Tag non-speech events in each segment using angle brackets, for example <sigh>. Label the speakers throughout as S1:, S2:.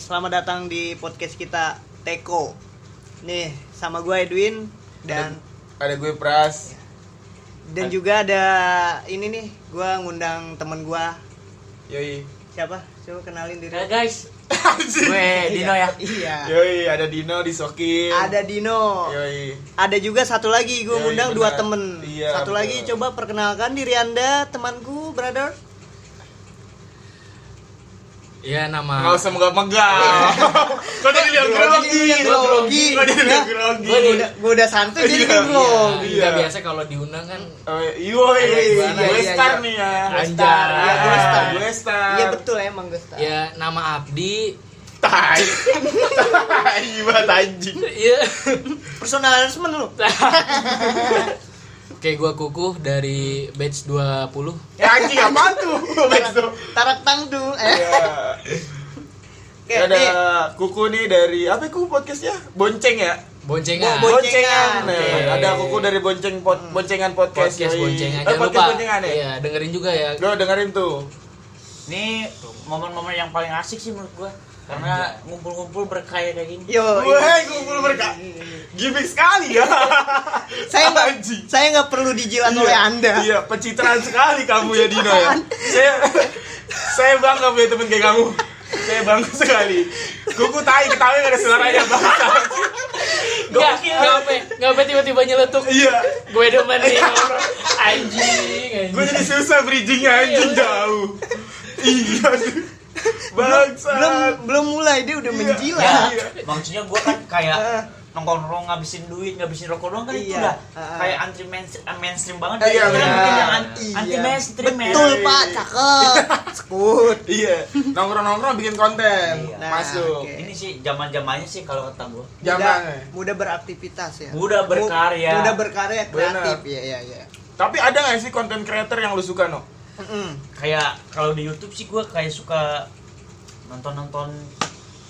S1: Selamat datang di podcast kita Teko. Nih, sama gue Edwin dan
S2: ada gue Pras
S1: dan juga ada ini nih, gue ngundang temen gue Iya.
S2: yoi
S1: siapa? Coba kenalin diri.
S2: Eh,
S3: Nah guys,
S2: Anjing.
S3: gue Dino ya.
S1: Iya.
S2: yoi ada Dino di Sokin
S1: Ada Dino.
S2: yoi
S1: Ada juga satu lagi gue
S2: Iya,
S1: ngundang
S2: iya,
S1: dua
S2: benar.
S1: temen.
S2: Iya,
S1: satu lagi
S2: benar.
S1: coba perkenalkan diri anda temanku brother.
S3: Iya
S2: nggak
S3: nama.
S2: usah
S1: Iya.
S2: megang-megang <laughs> kok jadi lihat grogi
S1: Grogi, iya, grogi.
S2: kok jadi lihat grogi
S1: Gue udah, gua udah santai jadi gue
S2: Iya,
S3: Iya,
S1: grogi.
S3: kita
S2: Iya.
S3: biasa kalau diundang kan
S2: Oh, yoi
S1: Gimana,
S2: gue
S1: iya,
S2: star
S1: iya.
S2: nih ya
S3: Anjar.
S1: Iya, gue star.
S2: gue star
S1: Iya betul emang gue star.
S3: ya nama Abdi.
S2: <laughs> tai tai banget anjing
S3: Iya.
S1: Personal harassment lu.
S2: <laughs>
S3: Oke, gua Kukuh dari batch 20.
S1: Eh,
S2: ya anjing apa tuh Bes tuh.
S1: Tarak tangdung. Eh.
S2: Ya.
S1: Oke,
S2: Ya, ada
S1: nih.
S2: kuku nih dari apa ya, kuku podcastnya bonceng ya
S3: Boncengan.
S1: Bo- bo- Boncengan.
S2: boncengan, Nah,
S3: Oke.
S2: ada kuku dari bonceng pod, boncengan podcast,
S3: podcast
S2: yoi.
S3: boncengan.
S2: Eh,
S3: Jangan
S2: podcast
S3: lupa.
S2: boncengan ya
S3: Iya, dengerin juga ya.
S2: Lo dengerin tuh.
S4: Ini momen-momen yang paling asik sih menurut gua karena ngumpul-ngumpul berkaya kayak gini.
S1: Yo. iya.
S2: Weh, kumpul berkah. Gimik sekali ya.
S1: <laughs> Saya nggak
S2: Anjing.
S1: saya nggak perlu dijilat oleh Anda.
S2: Iya, pencitraan sekali kamu ya Dino ya. Saya saya bangga punya temen kayak kamu. Saya bangga sekali. Kuku tai ketawa gak ada suaranya bangga.
S3: <laughs> Enggak, enggak apa, enggak apa tiba-tiba nyeletuk.
S2: Iya.
S3: Gue demen nih. Anjing,
S2: Gue
S3: anjing.
S2: jadi susah bridgingnya anjing jauh. Iya. aduh. Bangsat.
S1: Belum belum mulai dia udah menjilat.
S2: Iya. Ah.
S4: Maksudnya gua kan
S1: Eh.
S2: <laughs>
S4: kayak nongkrong-nongkrong ngabisin duit, ngabisin rokok doang kan itu
S1: Iya.
S4: lah.
S1: Eh.
S4: Kayak anti mainstream, mainstream banget.
S2: ah. Iya,
S4: Kita
S2: benar.
S4: bikin yang an-
S1: Iya.
S4: anti mainstream ya.
S1: Betul Pak, cakep. Sekut.
S2: Iya. Nongkrong-nongkrong bikin konten.
S4: Iya.
S1: Nah,
S2: Masuk.
S1: oke.
S4: Ini sih zaman-zamannya sih kalau kata gua.
S1: Mudah,
S2: Jangan.
S1: mudah beraktivitas ya.
S4: Mudah berkarya.
S1: Mudah berkarya kreatif.
S2: Benar.
S1: Iya, iya, iya.
S2: Tapi ada gak sih konten creator yang lu suka, No?
S1: Mm-mm.
S4: Kayak kalau di YouTube sih gua kayak suka nonton-nonton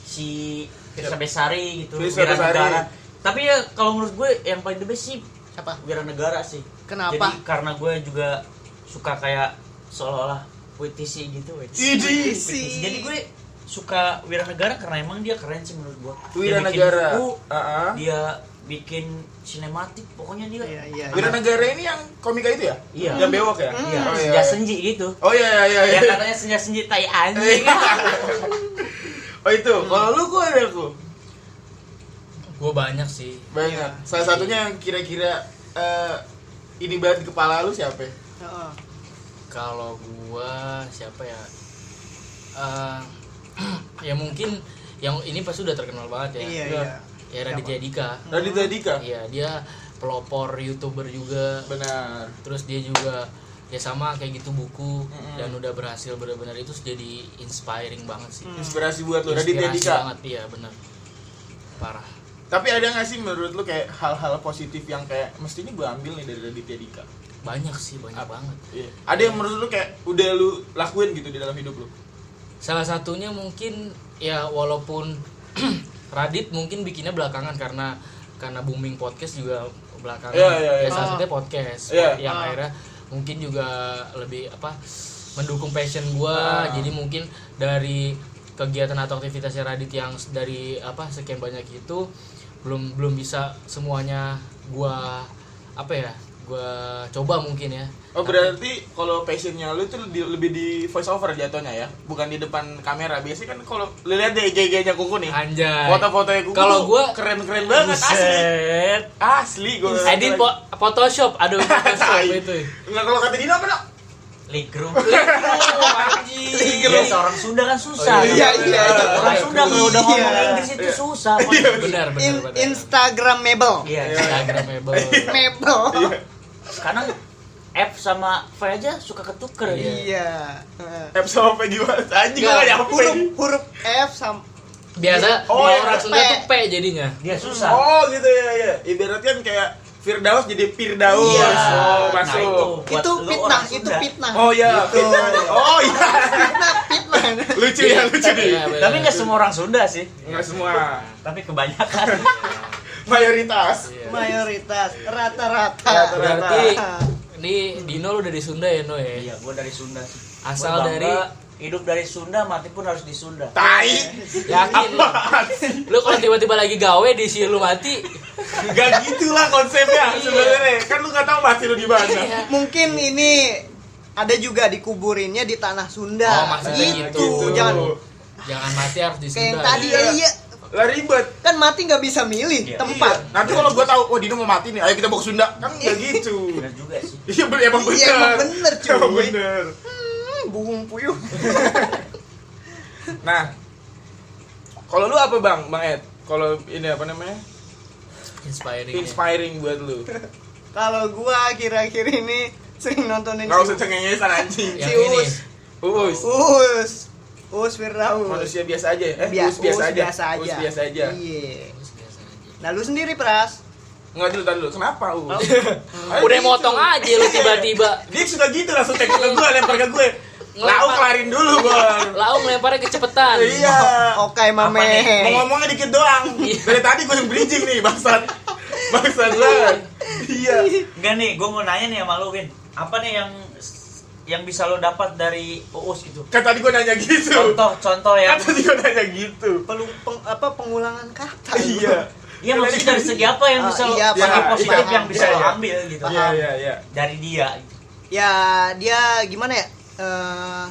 S4: si Firsa Besari gitu,
S2: Firsa
S4: Wira
S2: Iya. Besari.
S4: Negara. Tapi ya kalau menurut gue yang paling the best sih
S1: Apa?
S4: wira negara sih
S1: Kenapa?
S4: jadi karena gue juga suka kayak seolah-olah puitisi gitu weh.
S2: Idi.
S4: Puitisi. jadi gue suka wira negara karena emang dia keren sih menurut gue
S2: Wira
S4: dia bikin
S2: negara.
S4: buku,
S2: Heeh.
S4: dia bikin sinematik pokoknya dia
S1: Iya, iya.
S2: Wira negara ini yang komika itu ya?
S4: Iya.
S2: Yang bewok ya?
S4: iya
S2: Oh, iya,
S4: senja
S2: iya.
S4: senji gitu
S2: Oh iya iya iya.
S4: yang
S2: iya.
S4: katanya senja senji tai anjing
S2: oh itu. Kalau lu gua ada aku.
S3: Gue banyak sih.
S2: Banyak. Salah satunya yang kira-kira eh, ini banget di kepala lu siapa? ya?
S1: Heeh.
S3: kalau gua siapa ya Eh, <clears throat> ya mungkin yang ini pasti udah terkenal banget ya
S1: Iya,
S2: Iya.
S1: iya.
S3: ya Raditya Dika
S2: Raditya Dika.
S3: iya dia pelopor youtuber juga
S2: Benar.
S3: terus dia juga ya sama kayak gitu buku
S2: Mm-mm.
S3: dan udah berhasil benar-benar itu jadi inspiring banget sih
S2: Inspirasi buat lu Raditya
S3: inspirasi
S2: Dika.
S3: banget iya bener parah
S2: Tapi ada nggak sih menurut lu kayak hal-hal positif yang kayak mestinya gua ambil nih dari Raditya Dika?
S3: banyak sih banyak banget
S2: Iya. Ada yang menurut lu kayak udah lu lakuin gitu di dalam hidup lu?
S3: Salah satunya mungkin ya walaupun <clears throat> Radit mungkin bikinnya belakangan karena karena booming podcast juga belakangan.
S2: Iya, iya, iya.
S3: Ya salah
S1: Ah.
S3: satunya podcast
S2: Iya.
S3: yang
S1: Ah.
S3: akhirnya mungkin juga lebih apa mendukung passion
S2: Ah.
S3: gua. Jadi mungkin dari kegiatan atau aktivitasnya Radit yang s- dari apa sekian banyak itu belum belum bisa semuanya gua apa ya? Gua coba mungkin ya.
S2: Oh berarti kalau passionnya lu itu di- lebih di voice over jatuhnya ya, bukan di depan kamera. Biasanya kan kalau lu lihat deh IG-nya kuku nih,
S3: Anjay.
S2: foto-fotonya kuku.
S3: Kalau
S2: tuh
S3: gua
S2: keren-keren banget asli.
S3: Buset.
S2: Asli gua.
S3: Edit po Photoshop, aduh Photoshop
S2: <laughs> Tai.
S3: itu.
S2: Enggak kalau kata Dino apa, Dok?
S4: Ligrum
S3: Anjing.
S4: Iya, seorang Sunda kan susah.
S3: Oh, iya,
S1: iya, iya.
S4: Orang Sunda kalau udah ngomong
S1: Iya.
S4: Inggris itu
S2: Iya.
S4: susah. Pak.
S3: Benar, benar,
S1: In-
S3: benar.
S1: Instagramable.
S4: Iya.
S3: Instagramable.
S1: Mebel.
S2: Iya.
S4: Sekarang F sama V aja suka ketuker.
S3: Iya.
S1: Iya. Heeh.
S2: App sampai gimana? Anjing gua
S3: Enggak,
S2: enggak nyampe.
S1: Huruf huruf F sama
S3: Biasa
S2: Oh,
S3: kalau
S2: iya,
S3: orang
S1: P.
S3: Sunda tuh P jadinya.
S4: Dia susah.
S2: Oh gitu ya ya. Ibarat kan kayak Firdaus jadi Firdaus.
S1: Iya.
S2: Oh,
S4: Nah,
S2: masuk.
S4: buat
S1: itu
S4: lu
S1: fitnah,
S4: orang
S1: itu
S4: Sunda.
S1: fitnah.
S2: Oh iya,
S1: Gitu.
S2: Firdaus. Oh
S1: <laughs>
S2: iya.
S1: Fitnah, fitnah.
S2: <laughs> Lucu ya, lucu
S3: Iya,
S2: nih.
S3: benar.
S4: Tapi nggak semua orang Sunda sih.
S2: Enggak semua.
S4: Tapi kebanyakan.
S2: Mayoritas.
S3: Iya.
S1: Mayoritas
S2: Rata-rata.
S1: rata-rata.
S3: Berarti ini Dino lu dari Sunda ya, No ya?
S4: <laughs> Iya, gua dari Sunda sih.
S3: Asal
S4: Gua
S3: dari
S4: bangga hidup dari Sunda mati pun harus di Sunda
S2: Tai.
S3: Yakin lu?
S2: Apaan sih?
S3: Lu kalau tiba-tiba lagi gawe di sini lu mati.
S2: Gak gitulah konsepnya
S1: Iya.
S2: sebenarnya. Kan lu gak tahu mati lu di mana.
S3: Iya.
S1: Mungkin ini ada juga dikuburinnya di tanah Sunda.
S3: Oh, maksudnya
S1: gitu.
S3: gitu.
S1: Jangan
S3: Jangan mati harus di
S1: kayak yang
S3: Sunda.
S1: tadi
S2: Iya.
S1: ya, iya.
S2: Lah ribet.
S1: Kan mati nggak bisa milih
S4: Iya.
S1: tempat.
S2: Iya. Nanti kalau gua tahu, wah Dino mau mati nih, ayo kita bawa ke Sunda. Kan gak
S1: <laughs>
S2: gitu.
S4: benar juga sih
S2: Iya bener, emang bener.
S1: Iya, emang bener, cuy.
S2: <laughs> Emang bener. iya.
S1: Hmm, buung puyuh. <laughs>
S2: Nah, kalau lu apa bang, bang Ed? Kalau ini apa namanya?
S3: Inspiring.
S4: Iya.
S3: ya.
S2: Inspiring buat
S1: <laughs>
S2: lu.
S1: Kalau gua akhir-akhir ini sering nontonin
S2: Gak usah
S1: si
S2: cengengesan anjing.
S4: Ya.
S3: Yang
S1: si
S3: ini.
S1: Uus.
S2: Uus,
S1: Uus. Uus Firdaus.
S2: manusia biasa aja. ya? Eh,
S1: Bia-
S2: Uus biasa
S1: Uus
S2: aja.
S1: biasa aja.
S2: Uus biasa aja.
S1: Iya. Nah, lu sendiri Pras.
S2: Enggak dulu, tar dulu. Kenapa Uus?
S1: Oh.
S2: <laughs> Ayo,
S3: Udah
S2: gitu.
S3: motong aja lu tiba-tiba.
S2: Dia suka gitu langsung cek ke gue, lempar ke gue. Lau
S3: Ngelempar.
S2: kelarin dulu,
S4: Iya.
S2: Bang.
S3: Laung lemparnya kecepatan.
S2: Iya.
S1: Oke, Mame.
S2: Mau ngomongnya dikit doang.
S3: Iya.
S2: Dari tadi gue yang bridging nih, bangsat. Bangsat banget. Iya.
S1: <laughs>
S4: enggak nih gue mau nanya nih sama lo Win apa nih yang yang bisa lo dapat dari Uus gitu
S2: Kan tadi gue nanya gitu.
S4: contoh contoh
S2: Kan
S4: yang
S2: tadi gue nanya gitu.
S1: Pelu- peng- apa pengulangan kata. lu.
S2: Iya.
S4: Iya maksudnya dari segi apa yang
S1: Ah,
S4: bisa lo
S1: iya,
S4: yang
S2: paham,
S4: positif
S1: iya,
S4: yang bisa
S2: iya,
S4: lo
S2: iya.
S4: ambil gitu
S2: Iya, iya, iya.
S4: dari dia gitu.
S1: Ya, dia gimana ya? Eh,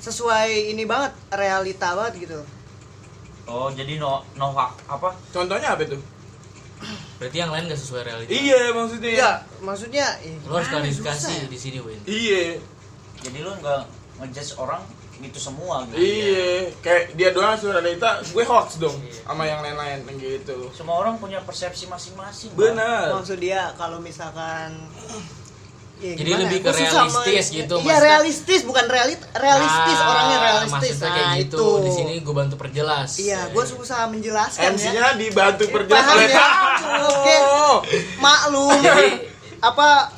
S1: sesuai ini banget, realita banget gitu.
S4: oh jadi no no hak- apa
S2: Contohnya apa tuh?
S3: Berarti yang lain gak sesuai realita.
S2: Iya, maksudnya.
S1: Iya, maksudnya eh,
S3: Lu
S1: ah, susah
S3: harus
S1: ya.
S3: klarifikasi di sini, Win.
S2: Iya.
S4: jadi lo nggak ngejudge orang gitu semua gitu
S2: Iya, kayak dia doang sudah realita, gue hoax dong sama yang lain-lain yang gitu.
S4: semua orang punya persepsi masing-masing Bang.
S2: Bener.
S1: Maksud dia kalau misalkan ya
S3: Jadi
S1: gimana
S3: lebih
S1: ya?
S3: ke
S1: Gua susah
S3: realistis
S1: main-
S3: gitu,
S1: Iya
S3: maksudnya.
S1: realistis bukan realit realistis
S3: Nah,
S1: orangnya realistis.
S3: maksudnya
S1: Nah,
S3: kayak gitu.
S1: itu.
S3: Di sini gue bantu perjelas.
S1: Iya,
S3: Eh,
S1: gue susah menjelaskan
S3: kan
S1: ya.
S2: MC-nya
S3: Iya,
S2: dibantu perjelas
S1: Paham
S2: oleh Oh,
S1: ya? Oke. Maklum.
S3: Jadi-
S1: apa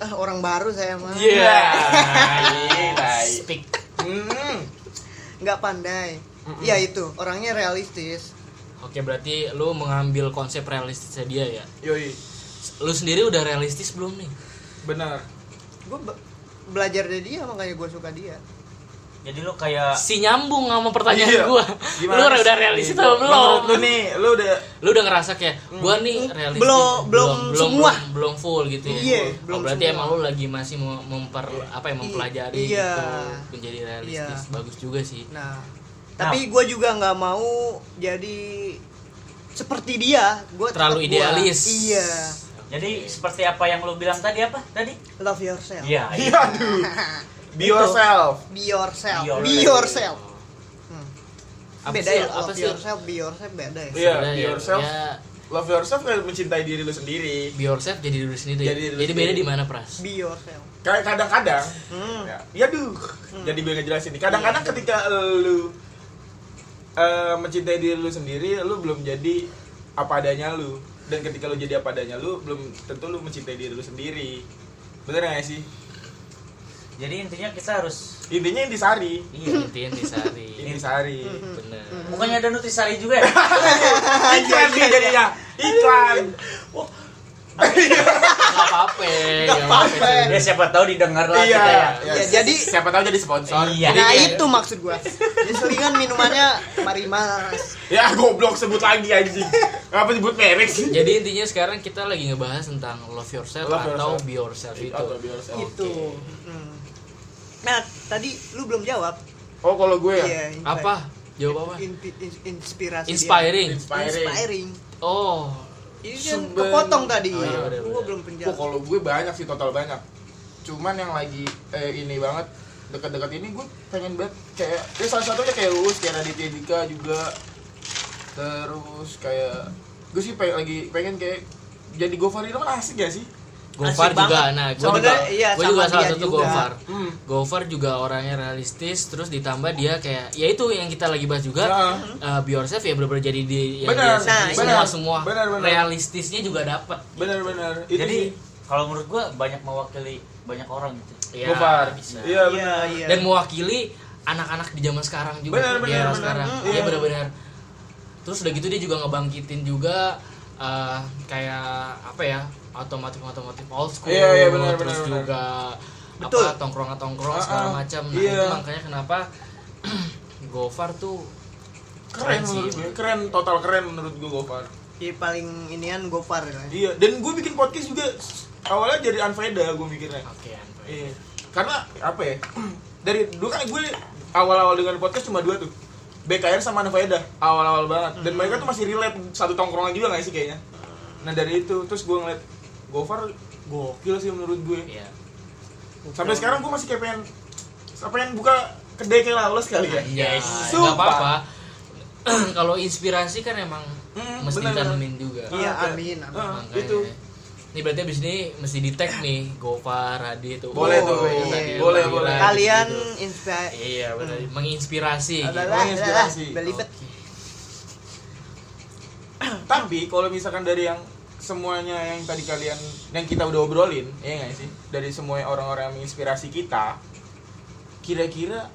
S1: ah, orang baru saya mah.
S2: Iya.
S1: <laughs>
S3: iya. Speak.
S2: Hmm.
S1: nggak pandai.
S2: Mm-mm.
S1: Iya itu, orangnya realistis.
S3: Oke, berarti lu mengambil konsep realistisnya dia ya.
S2: Yoi,
S3: Lu sendiri udah realistis belum nih?
S2: benar.
S1: Gue belajar dari dia makanya gue suka dia.
S4: jadi lo kayak
S3: Si nyambung sama pertanyaan
S2: Iya.
S3: gua.
S2: Gimana
S3: Lu
S2: sih?
S3: udah realistis atau
S1: Iya.
S3: belum?
S2: Menurut lu nih, lu udah
S3: lu udah ngerasa kayak gua nih realistis
S1: Hmm. belum- belum semua.
S3: belum, belum full gitu ya
S1: Iya,
S3: Oh,
S1: belum
S3: berarti
S1: semua.
S3: emang lu lagi masih mau memper apa ya mempelajari
S1: Iya.
S3: gitu menjadi realistis
S1: Iya.
S3: bagus juga sih
S1: Nah, tapi gue juga nggak mau jadi seperti dia. Gue
S3: terlalu idealis
S1: Iya,
S4: jadi seperti apa yang lo bilang tadi apa tadi
S1: love yourself.
S4: iya
S2: Iya, aduh. Be yourself.
S1: <laughs> Be yourself.
S4: Be
S1: Be yourself.
S4: yourself.
S1: Hmm.
S3: Apa
S1: Beda
S3: sih-
S1: ya,
S3: apa
S1: love
S3: sih?
S1: yourself, be yourself beda ya.
S2: Iya,
S3: Sebenarnya
S2: be
S3: ya,
S2: yourself.
S3: ya,
S2: Love yourself kayak mencintai diri lu sendiri.
S3: be yourself jadi diri sendiri
S2: Jadi diri
S3: jadi beda
S2: sendiri.
S3: di mana pras
S1: Be yourself.
S2: Kayak kadang-kadang
S1: Hmm.
S2: ya, ya duh. Jadi gue ngejelasin nih. Kadang-kadang ketika lu eh, mencintai diri lu sendiri, lu belum jadi apa adanya lu. Dan ketika lu jadi apa adanya lu, belum tentu lu mencintai diri lu sendiri. Bener gak sih?
S4: jadi intinya kita harus
S2: Intinya intisari.
S4: iya
S3: inti intisari
S2: Intisari.
S1: Hmm.
S3: bener
S4: bukannya ada nutrisari juga ya
S2: Iklan nih jadinya. Iklan.
S3: nggak apa apa nggak
S1: apa-apa.
S4: ya siapa tahu didengar lah
S2: Iya.
S4: kita ya
S1: Ya, jadi-
S2: siapa tahu jadi sponsor.
S3: Ya,
S4: Iya.
S1: Nah
S4: Jadi-
S1: itu maksud gua. Jadi selingan minumannya Marimas.
S2: Ya goblok sebut lagi anjing. Kenapa sebut merek sih?
S3: jadi intinya sekarang kita lagi ngebahas tentang love yourself
S2: Love
S3: atau
S2: yourself.
S3: be yourself itu
S2: Atau be yourself.
S3: Oke.
S1: Itu. Hmm. Nah tadi lu belum jawab.
S2: Oh kalau gue ya.
S1: Iya. inspire-
S3: apa jawab apa
S1: in- in- inspirasi. dia.
S3: inspiring
S2: Inspiring.
S1: Inspiring.
S3: oh
S1: Ini kan
S2: Sumber-
S1: kepotong tadi.
S3: Oh, iya, bener,
S1: Gua
S3: bener.
S1: belum
S2: Oh,
S1: penjelasan.
S2: kalau gue banyak sih total banyak. Cuman yang lagi eh, ini banget dekat-dekat ini gue pengen banget kayak ya salah satunya kayak Uus, kayak Raditya Dika juga terus kayak gue sih pengen lagi pengen kayak jadi Gofar itu kan asik gak sih?
S3: Gofar
S4: Asik
S3: juga,
S4: banget.
S3: nah gue
S1: Sama
S3: juga,
S1: dia- iya,
S3: gue
S1: sama
S3: juga salah
S1: dia
S3: satu
S1: juga.
S3: Gofar.
S2: Hmm.
S3: Gofar juga orangnya realistis, terus ditambah dia kayak, ya itu yang kita lagi bahas juga,
S2: Nah.
S3: eh, be yourself ya bener-bener jadi di yang
S2: Bener,
S3: dia sendiri.
S1: nah,
S3: semua
S2: bener,
S3: semua
S2: bener, bener.
S3: realistisnya juga dapat.
S2: Benar-benar.
S4: jadi kalau menurut gua banyak mewakili banyak orang gitu
S3: Ya,
S2: Gofar.
S3: bisa.
S2: Iya
S1: Iya,
S2: benar.
S1: iya.
S3: Dan mewakili anak-anak di zaman sekarang juga.
S2: Bener,
S3: di
S2: bener,
S3: era
S2: bener.
S3: sekarang.
S2: Hmm,
S3: Iya
S2: iya.
S3: benar-benar. Terus udah gitu dia juga ngebangkitin juga eh, kayak apa ya otomotif otomotif old school.
S2: Iya, iya, bener,
S3: terus
S2: bener, bener.
S3: juga
S1: Betul.
S3: apa tongkrongan tongkrong
S2: Ah,
S3: segala
S2: ah.
S3: macam nah
S2: Iya.
S3: itu makanya kenapa <clears throat> Gofar tuh
S2: keren
S3: Keren sih.
S2: menurut gue keren total keren menurut gue Gofar
S1: Jadi paling inian Gopar ya.
S2: iya dan gue bikin podcast juga s- awalnya dari Anfaida gue mikirnya
S3: oke Andre.
S2: iya karena apa ya <clears throat> dari dulu kan gue li- awal-awal dengan podcast cuma dua tuh BKR sama Anfaida awal-awal banget dan
S3: Hmm.
S2: mereka tuh masih relate satu tongkrongan juga gak sih kayaknya nah dari itu terus gue ngeliat Gofar gokil sih menurut gue
S3: iya
S2: sampai sekarang gue masih kayak pengen pengen buka kedai kayak Lawless kali ya
S3: yes
S2: Sumpah.
S3: apa apa Iya, <clears throat> kalau inspirasi kan emang
S2: Mm,
S3: mesti
S2: benar, benar.
S3: ditanamin juga
S1: Iya,
S2: Ah,
S1: amin, amin.
S2: Ah,
S3: makanya
S2: itu
S3: ini berarti abis ini mesti di tag nih Gofar Radit tuh
S2: Boleh
S1: tuh,
S3: itu
S1: iya.
S3: tadi,
S2: Boleh,
S3: Radit
S2: boleh.
S1: Kalian
S3: gitu.
S1: inspirasi.
S3: iya benar menginspirasi gitu.
S1: Adalah, adalah,
S2: Menginspirasi.
S1: belibet.
S3: Oke.
S2: tapi kalau misalkan dari yang semuanya yang tadi kalian yang kita udah obrolin ya nggak sih dari semua orang-orang yang menginspirasi kita kira-kira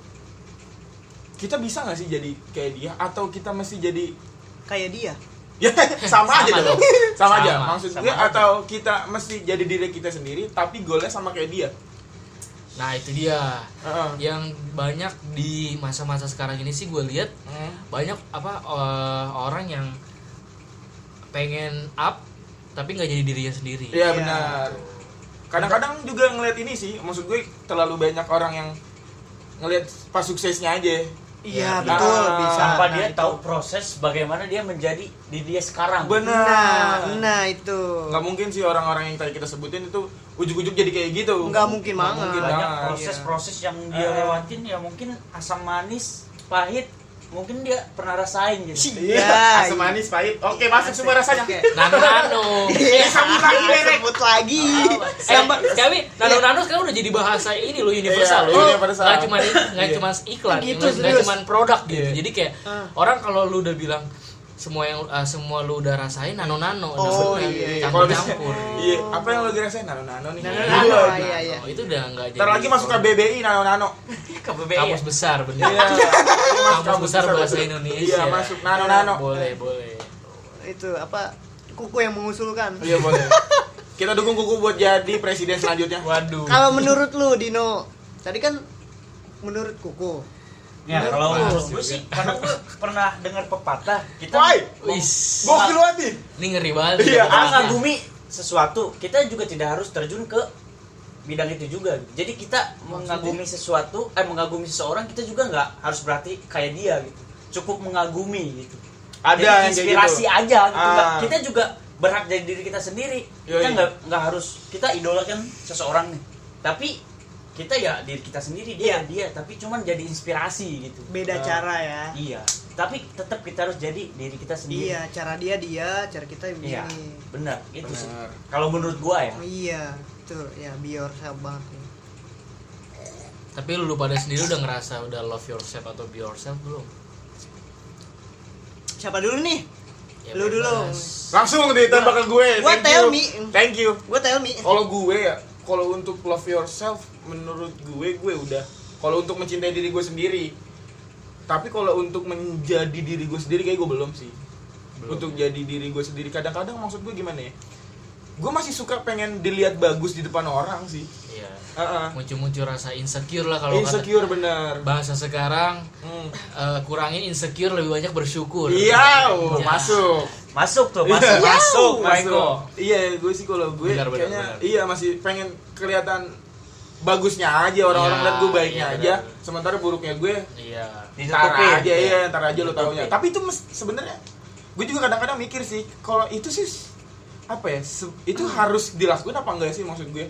S2: kita bisa nggak sih jadi kayak dia atau kita mesti jadi <laughs>
S1: Kayak dia.
S2: ya sama, aja
S3: Sama
S2: dong <laughs> sama, aja
S3: Sama,
S2: maksud
S4: sama
S2: gue
S4: aja.
S2: atau kita mesti jadi diri kita sendiri tapi goalnya sama kayak dia
S3: nah itu dia
S2: Heeh.
S3: yang banyak di masa-masa sekarang ini sih gue lihat
S2: Heeh.
S3: banyak apa eh, orang yang pengen up tapi nggak jadi dirinya sendiri
S2: Iya
S1: Iya.
S2: benar. Kadang-kadang juga ngelihat ini sih, maksud gue terlalu banyak orang yang ngelihat pas suksesnya aja.
S1: Iya,
S2: benar.
S1: betul
S2: Ah,
S1: bisa.
S4: tanpa
S1: Nah,
S4: dia
S1: itu.
S4: tahu proses bagaimana dia menjadi diri dia sekarang
S1: Nah,
S2: Benar.
S1: nah itu.
S2: Nggak mungkin sih orang-orang yang tadi kita sebutin itu ujuk-ujuk jadi kayak gitu.
S1: Nggak mungkin
S2: Nggak
S1: banget.
S2: mungkin
S4: banyak
S2: banget.
S4: proses-proses yang dia
S2: Ah.
S4: lewatin ya mungkin asam manis pahit mungkin dia pernah rasain gitu
S2: Iya.
S1: Iya,
S2: Asam
S1: iya.
S2: manis pahit. Oke, masuk semua rasanya.
S1: Oke.
S3: nano nano
S2: <laughs>
S3: <laughs>
S1: Iya, sambut <laughs> lagi, Derek. Sambut lagi.
S3: ah,
S1: Sambut.
S3: tapi nano nano Eh, sekarang udah jadi bahasa ini loh
S2: Iya,
S3: universal loh
S2: universal.
S3: nggak cuma nggak
S2: Iya.
S3: cuma iklan
S1: Gitu,
S3: nggak- nggak
S1: serius.
S3: cuma produk gitu
S2: Iya.
S3: jadi kayak
S1: Ah.
S3: orang kalau lu udah bilang semua yang eh, semua lu udah rasain nano nano
S1: Oh, iya, iya.
S2: Kalau
S3: campur
S2: misalnya-
S3: campur
S2: Iya, apa yang lo ngerasain? Nano-nano nih.
S1: Nano-nano,
S2: Iya.
S1: iya.
S3: Oh, itu udah nggak jadi
S2: Ntar lagi masuk ke BBI nano-nano.
S4: KBBI ya?
S3: kampus besar bener
S2: Iya.
S3: kampus besar bahasa Indonesia
S2: Iya,
S3: Iya,
S2: masuk nano-nano.
S3: boleh boleh
S1: Itu apa? Kuku yang mengusulkan.
S2: Iya, boleh. Kita dukung kuku buat jadi presiden selanjutnya.
S3: waduh
S1: Kalau menurut lu Dino, tadi kan menurut Kuku.
S4: ya
S2: Nah.
S4: kalau
S3: Pahit
S4: menurut gue
S3: juga.
S4: sih karena gue pernah dengar pepatah kita
S2: Woi,
S3: wis
S2: gokil banget nih.
S3: ini ngeri banget
S2: Iya,
S4: kita
S3: Dapat apa.
S4: mengagumi sesuatu kita juga tidak harus terjun ke bidang itu juga jadi kita mengagumi sesuatu eh mengagumi seseorang kita juga nggak harus berarti kayak dia gitu cukup mengagumi gitu
S2: Ada
S4: Jadi
S2: yang kayak
S4: inspirasi
S2: gitu.
S4: aja gitu.
S2: Ah.
S4: Nggak- kita juga berhak jadi diri kita sendiri kita
S2: Yoi.
S4: nggak nggak harus kita idolakan seseorang nih tapi kita ya diri kita sendiri
S2: Iya.
S4: dia dia tapi cuman jadi inspirasi gitu
S1: Beda
S2: Nah.
S1: cara ya.
S4: iya tapi tetap kita harus jadi diri kita sendiri
S1: Iya, cara dia dia, cara kita begini.
S4: Iya, benar. Itu sih.
S2: Benar.
S4: Kalau menurut gua ya.
S1: Iya, betul. Ya, be yourself banget. ya.
S3: tapi lu pada sendiri udah ngerasa udah love yourself atau be yourself belum
S1: Siapa dulu nih?
S3: Ya,
S1: Lu dulu.
S3: bebas.
S2: Langsung ditembak ke gue.
S1: Gua
S2: Thank
S1: tell
S2: you.
S1: me.
S2: Thank you.
S1: Gue tell me.
S2: Kalau gue ya, kalau untuk love yourself menurut gue gue udah. Kalau untuk mencintai diri gue sendiri. Tapi kalau untuk menjadi diri gue sendiri kayak gue belum sih.
S3: Belum.
S2: Untuk jadi diri gue sendiri kadang-kadang maksud gue gimana ya? Gue masih suka pengen dilihat bagus di depan orang sih.
S3: iya
S2: Heeh.
S3: muncul-muncul rasa insecure lah kalau kata
S2: Insecure bener.
S3: bahasa sekarang
S2: Hmm.
S3: eh, kurangin insecure lebih banyak bersyukur
S2: Iya, oh,
S3: Ya.
S2: masuk.
S4: Masuk tuh,
S2: Iya,
S4: masuk.
S2: masuk,
S4: Michael.
S2: Iya, gue sih kalau gue
S3: Benar, benar,
S2: kayaknya
S3: benar.
S2: iya masih pengen kelihatan bagusnya aja orang-orang
S3: Iya,
S2: lihat gue baiknya
S3: iya,
S2: aja.
S3: benar.
S2: Sementara buruknya gue
S3: iya
S2: ntar
S4: Ditutupi.
S2: aja iya, ntar aja lo taunya.
S4: Ditutupi.
S2: Tapi itu mes- sebenarnya gue juga kadang-kadang mikir sih kalau itu sih apa ya? se- itu
S3: Hmm.
S2: harus dilakuin apa enggak sih maksud gue?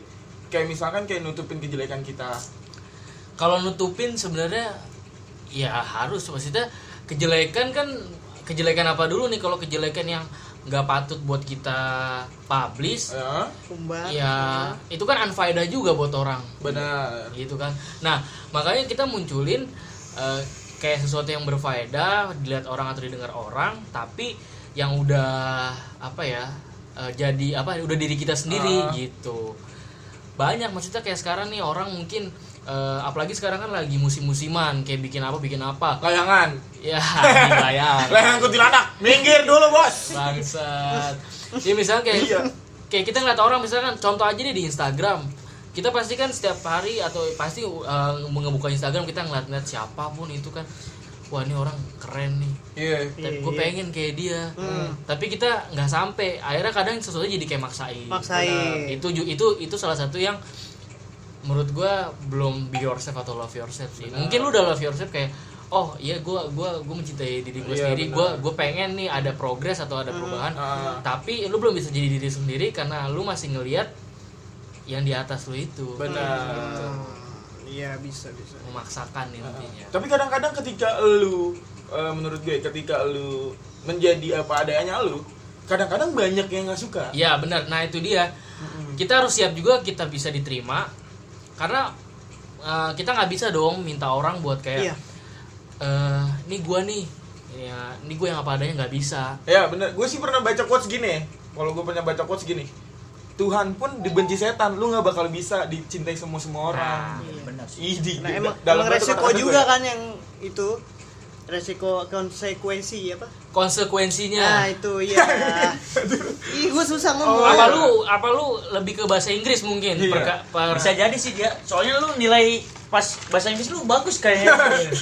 S2: Kayak misalkan kayak nutupin kejelekan kita.
S3: kalau nutupin sebenarnya ya harus maksudnya kejelekan kan kejelekan apa dulu nih kalau kejelekan yang nggak patut buat kita publish
S2: Ya,
S1: Kumbar.
S3: ya itu kan unfaedah juga buat orang
S2: benar.
S3: gitu kan nah makanya kita munculin eh, kayak sesuatu yang berfaedah dilihat orang atau didengar orang tapi yang udah apa ya eh, jadi apa udah diri kita sendiri
S2: Ah.
S3: gitu banyak maksudnya kayak sekarang nih orang mungkin eh, apalagi sekarang kan lagi musim-musiman kayak bikin apa bikin apa
S2: Layangan.
S3: ya <laughs> bayar
S2: Layangan kuntilanak. Minggir dulu, Bos.
S3: bangsat ya misalnya kayak
S2: Iya.
S3: kayak kita ngeliat orang misalkan contoh aja deh di Instagram kita pasti kan setiap hari atau pasti uh, mengebuka Instagram kita ngeliat-ngeliat siapapun itu kan wah ini orang keren nih
S2: Iya. Hmm.
S3: tapi
S1: Iya,
S3: gue
S1: iya.
S3: pengen kayak dia tapi kita nggak sampai akhirnya kadang sesuatu jadi kayak maksain
S1: Maksain.
S3: Benar. itu ju- itu itu salah satu yang menurut gue belum be yourself atau love yourself sih mungkin lu udah love yourself kayak oh iya gue gua gua mencintai diri gue
S2: Iya,
S3: sendiri gue
S2: benar.
S3: gue pengen nih ada progres atau ada perubahan
S2: Ah.
S3: tapi lu belum bisa jadi diri sendiri karena lu masih ngelihat yang di atas lu itu
S2: Benar.
S1: Iya bisa bisa.
S3: memaksakan
S1: Iya.
S3: intinya
S2: Tapi kadang-kadang ketika lu eh, menurut gue ketika lu menjadi apa adanya lu, kadang-kadang banyak yang nggak suka.
S1: Iya.
S3: Ya benar. Nah itu dia. Kita harus siap juga kita bisa diterima karena eh, kita nggak bisa dong minta orang buat
S1: Iya.
S3: kayak eh ini gua nih, ya ini gue yang apa adanya nggak bisa.
S2: Ya bener, gue sih pernah baca quotes gini ya Kalau gue pernah baca quotes gini Tuhan pun dibenci setan, lu gak bakal bisa dicintai semua semua orang
S3: Nah,
S4: Iya, benar sih
S2: Ih, di-
S1: Nah
S2: di-
S1: emang,
S2: dalam
S1: emang
S2: banget
S1: resiko
S2: kata-kata
S1: juga
S2: gue.
S1: kan yang itu resiko konsekuensi apa? Nah
S3: konsekuensinya.
S1: itu iya. Ih gue susah ngomong.
S3: apa lu apa lu lebih ke bahasa Inggris mungkin?
S2: Iya.
S3: Perka- per-
S4: bisa jadi sih dia soalnya lu nilai pas bahasa Inggris lu bagus
S2: <laughs>
S4: kayaknya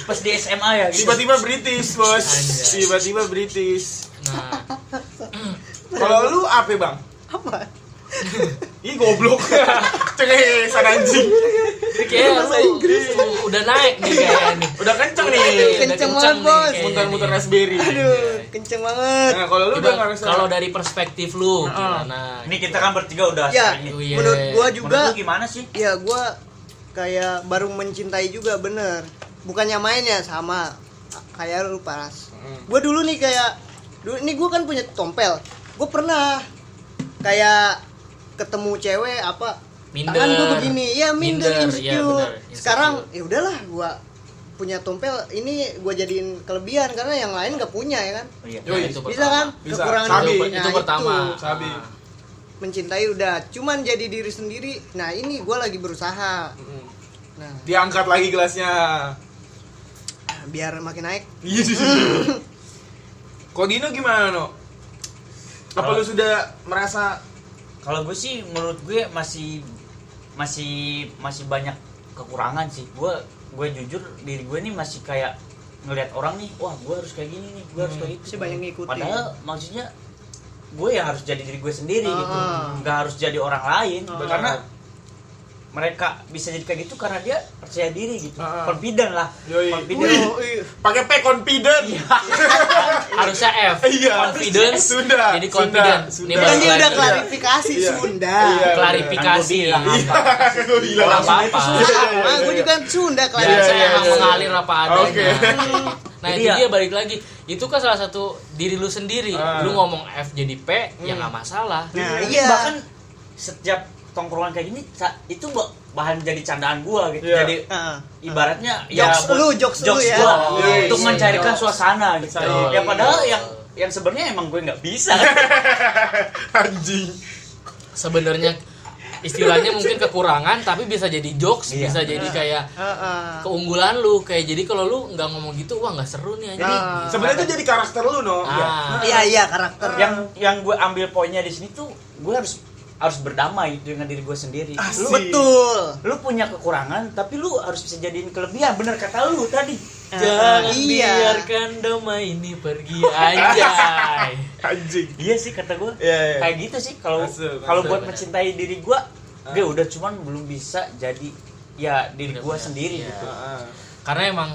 S4: pas di SMA ya gitu.
S2: Tiba-tiba British bos
S3: Anjay.
S2: Tiba-tiba British
S1: <laughs>
S3: Nah,
S2: Kalau lu apa bang?
S1: Nah. apa?
S2: <laughs> Ih goblok <laughs> Cengeng sana anjing
S3: ini kayaknya
S1: Bahasa
S3: lu-
S1: Inggris.
S3: lu udah naik nih
S1: <laughs>
S3: kayaknya nih.
S2: Udah kenceng
S1: Iya.
S3: Udah
S2: nih
S1: Kenceng
S3: kenceng
S1: banget,
S3: nih
S1: Bos.
S3: kayaknya
S2: Muter-muter
S3: nih.
S2: raspberry
S1: Aduh kenceng banget.
S2: Nah kalau lu udah
S3: Coba
S2: gak rasa
S3: Kalau dari perspektif lu gimana?
S4: ini kita kan bertiga udah
S1: Ya
S4: sering nih.
S3: Iya.
S1: menurut gue juga.
S4: Menurut lu gimana sih
S1: ya gue kayak baru mencintai juga bener bukannya main ya sama kayak lu paras
S3: Hmm.
S2: Mm.
S1: gue dulu nih kayak dulu ini gue kan punya tompel gue pernah kayak ketemu cewek apa
S3: Minder.
S1: tangan gue begini ya minder,
S3: Minder, iya,
S1: insecure.
S3: benar, insecure.
S1: sekarang ya udahlah gue punya tompel ini gue jadiin kelebihan karena yang lain gak punya ya kan
S4: oh, iya.
S3: Nah,
S2: Yoi.
S3: itu
S1: bisa kan
S3: pertama.
S2: Bisa.
S1: kekurangan
S2: Sabi.
S1: itu.
S3: itu,
S1: Nah,
S3: itu pertama.
S2: Sabi.
S3: Ah.
S1: mencintai udah cuman jadi diri sendiri nah ini gue lagi berusaha
S2: Mm.
S1: nah
S2: Diangkat lagi gelasnya
S1: biar makin naik
S2: Iya Kok Dino gimana no? Apa
S4: Kalau-
S2: lu sudah merasa
S4: kalau gue sih menurut gue masih masih masih banyak kekurangan sih gue gue jujur diri gue nih masih kayak ngelihat orang nih wah gue harus kayak gini nih gue harus kayak gitu
S1: Hmm, Masih banyak ngikutin.
S4: padahal maksudnya gue ya harus jadi diri gue sendiri gitu
S1: Ah.
S4: nggak harus jadi orang lain
S1: Ah.
S4: karena mereka bisa jadi kayak gitu karena dia percaya diri gitu
S2: Ah.
S4: confident lah
S2: Yoi.
S4: <laughs> confident Iya.
S2: pakai P confident?
S3: Harusnya F.
S2: Iya.
S3: Confidence.
S2: Sunda.
S3: Jadi confident.
S2: Sunda.
S1: kan
S2: Sunda.
S3: Ini bahasa
S1: dia udah
S3: lagi.
S1: klarifikasi
S2: Iya.
S1: Sunda.
S2: Iya.
S3: klarifikasi.
S4: Kan gua bilang.
S3: Iya.
S2: <laughs> Gue bilang
S3: Orang
S2: langsung.
S3: apa-apa.
S1: Ah, Sama, gue juga kan Sunda
S2: Iya,
S3: Biar
S1: klarifikasi. Nah,
S3: saya
S2: iya, iya.
S3: mengalir apa adanya.
S2: Oke. Iya.
S3: Nah
S4: Jadi
S3: itu
S4: ya-
S3: dia balik lagi. Itu kan salah satu diri lu sendiri.
S2: Ah. Hmm.
S3: Lu ngomong F jadi P, ya nggak masalah.
S1: Nah,
S4: Ini
S1: iya.
S4: bahkan setiap tongkrongan kayak gini sa- itu ba- bahan jadi candaan gua gitu
S2: Iya.
S4: jadi
S1: Heeh.
S4: ibaratnya
S1: Jokes
S4: buat-
S1: lu, jokes lu ya.
S4: gua
S2: Iya,
S4: untuk
S2: iya,
S4: mencairkan
S3: jokes.
S4: suasana gitu
S2: Betul.
S4: ya padahal
S3: Iya.
S4: yang yang sebenarnya emang gue nggak bisa
S1: Iya.
S2: Anjing.
S3: Sebenarnya istilahnya mungkin kekurangan, tapi bisa jadi jokes,
S4: Iya.
S3: bisa jadi kayak
S1: ah. Heeh.
S3: keunggulan lu. Kayak jadi kalau lu nggak ngomong gitu, wah nggak seru nih anjing.
S1: Ah.
S2: Sebenarnya itu jadi karakter lu no.
S3: Ah.
S2: Iya.
S1: Iya iya karakter.
S4: yang yang gue ambil poinnya di sini tuh gue harus harus berdamai dengan diri gue sendiri
S2: Asik.
S4: lu
S1: Betul.
S4: lu punya kekurangan tapi lu harus bisa jadiin kelebihan bener kata lu tadi
S1: Heeh,
S3: Jangan
S1: iya.
S3: biarkan damai ini pergi anjay.
S2: <laughs> Anjing.
S4: iya sih kata gue
S2: Iya, iya.
S4: kayak gitu sih kalau
S2: Masuk, masuk, Ah.
S4: kalau buat
S3: bener.
S4: mencintai diri gue gue udah cuman belum bisa jadi ya diri gue
S3: Bener-bener,
S4: sendiri
S3: iya.
S4: gitu
S2: Ah, ah.
S3: Karena emang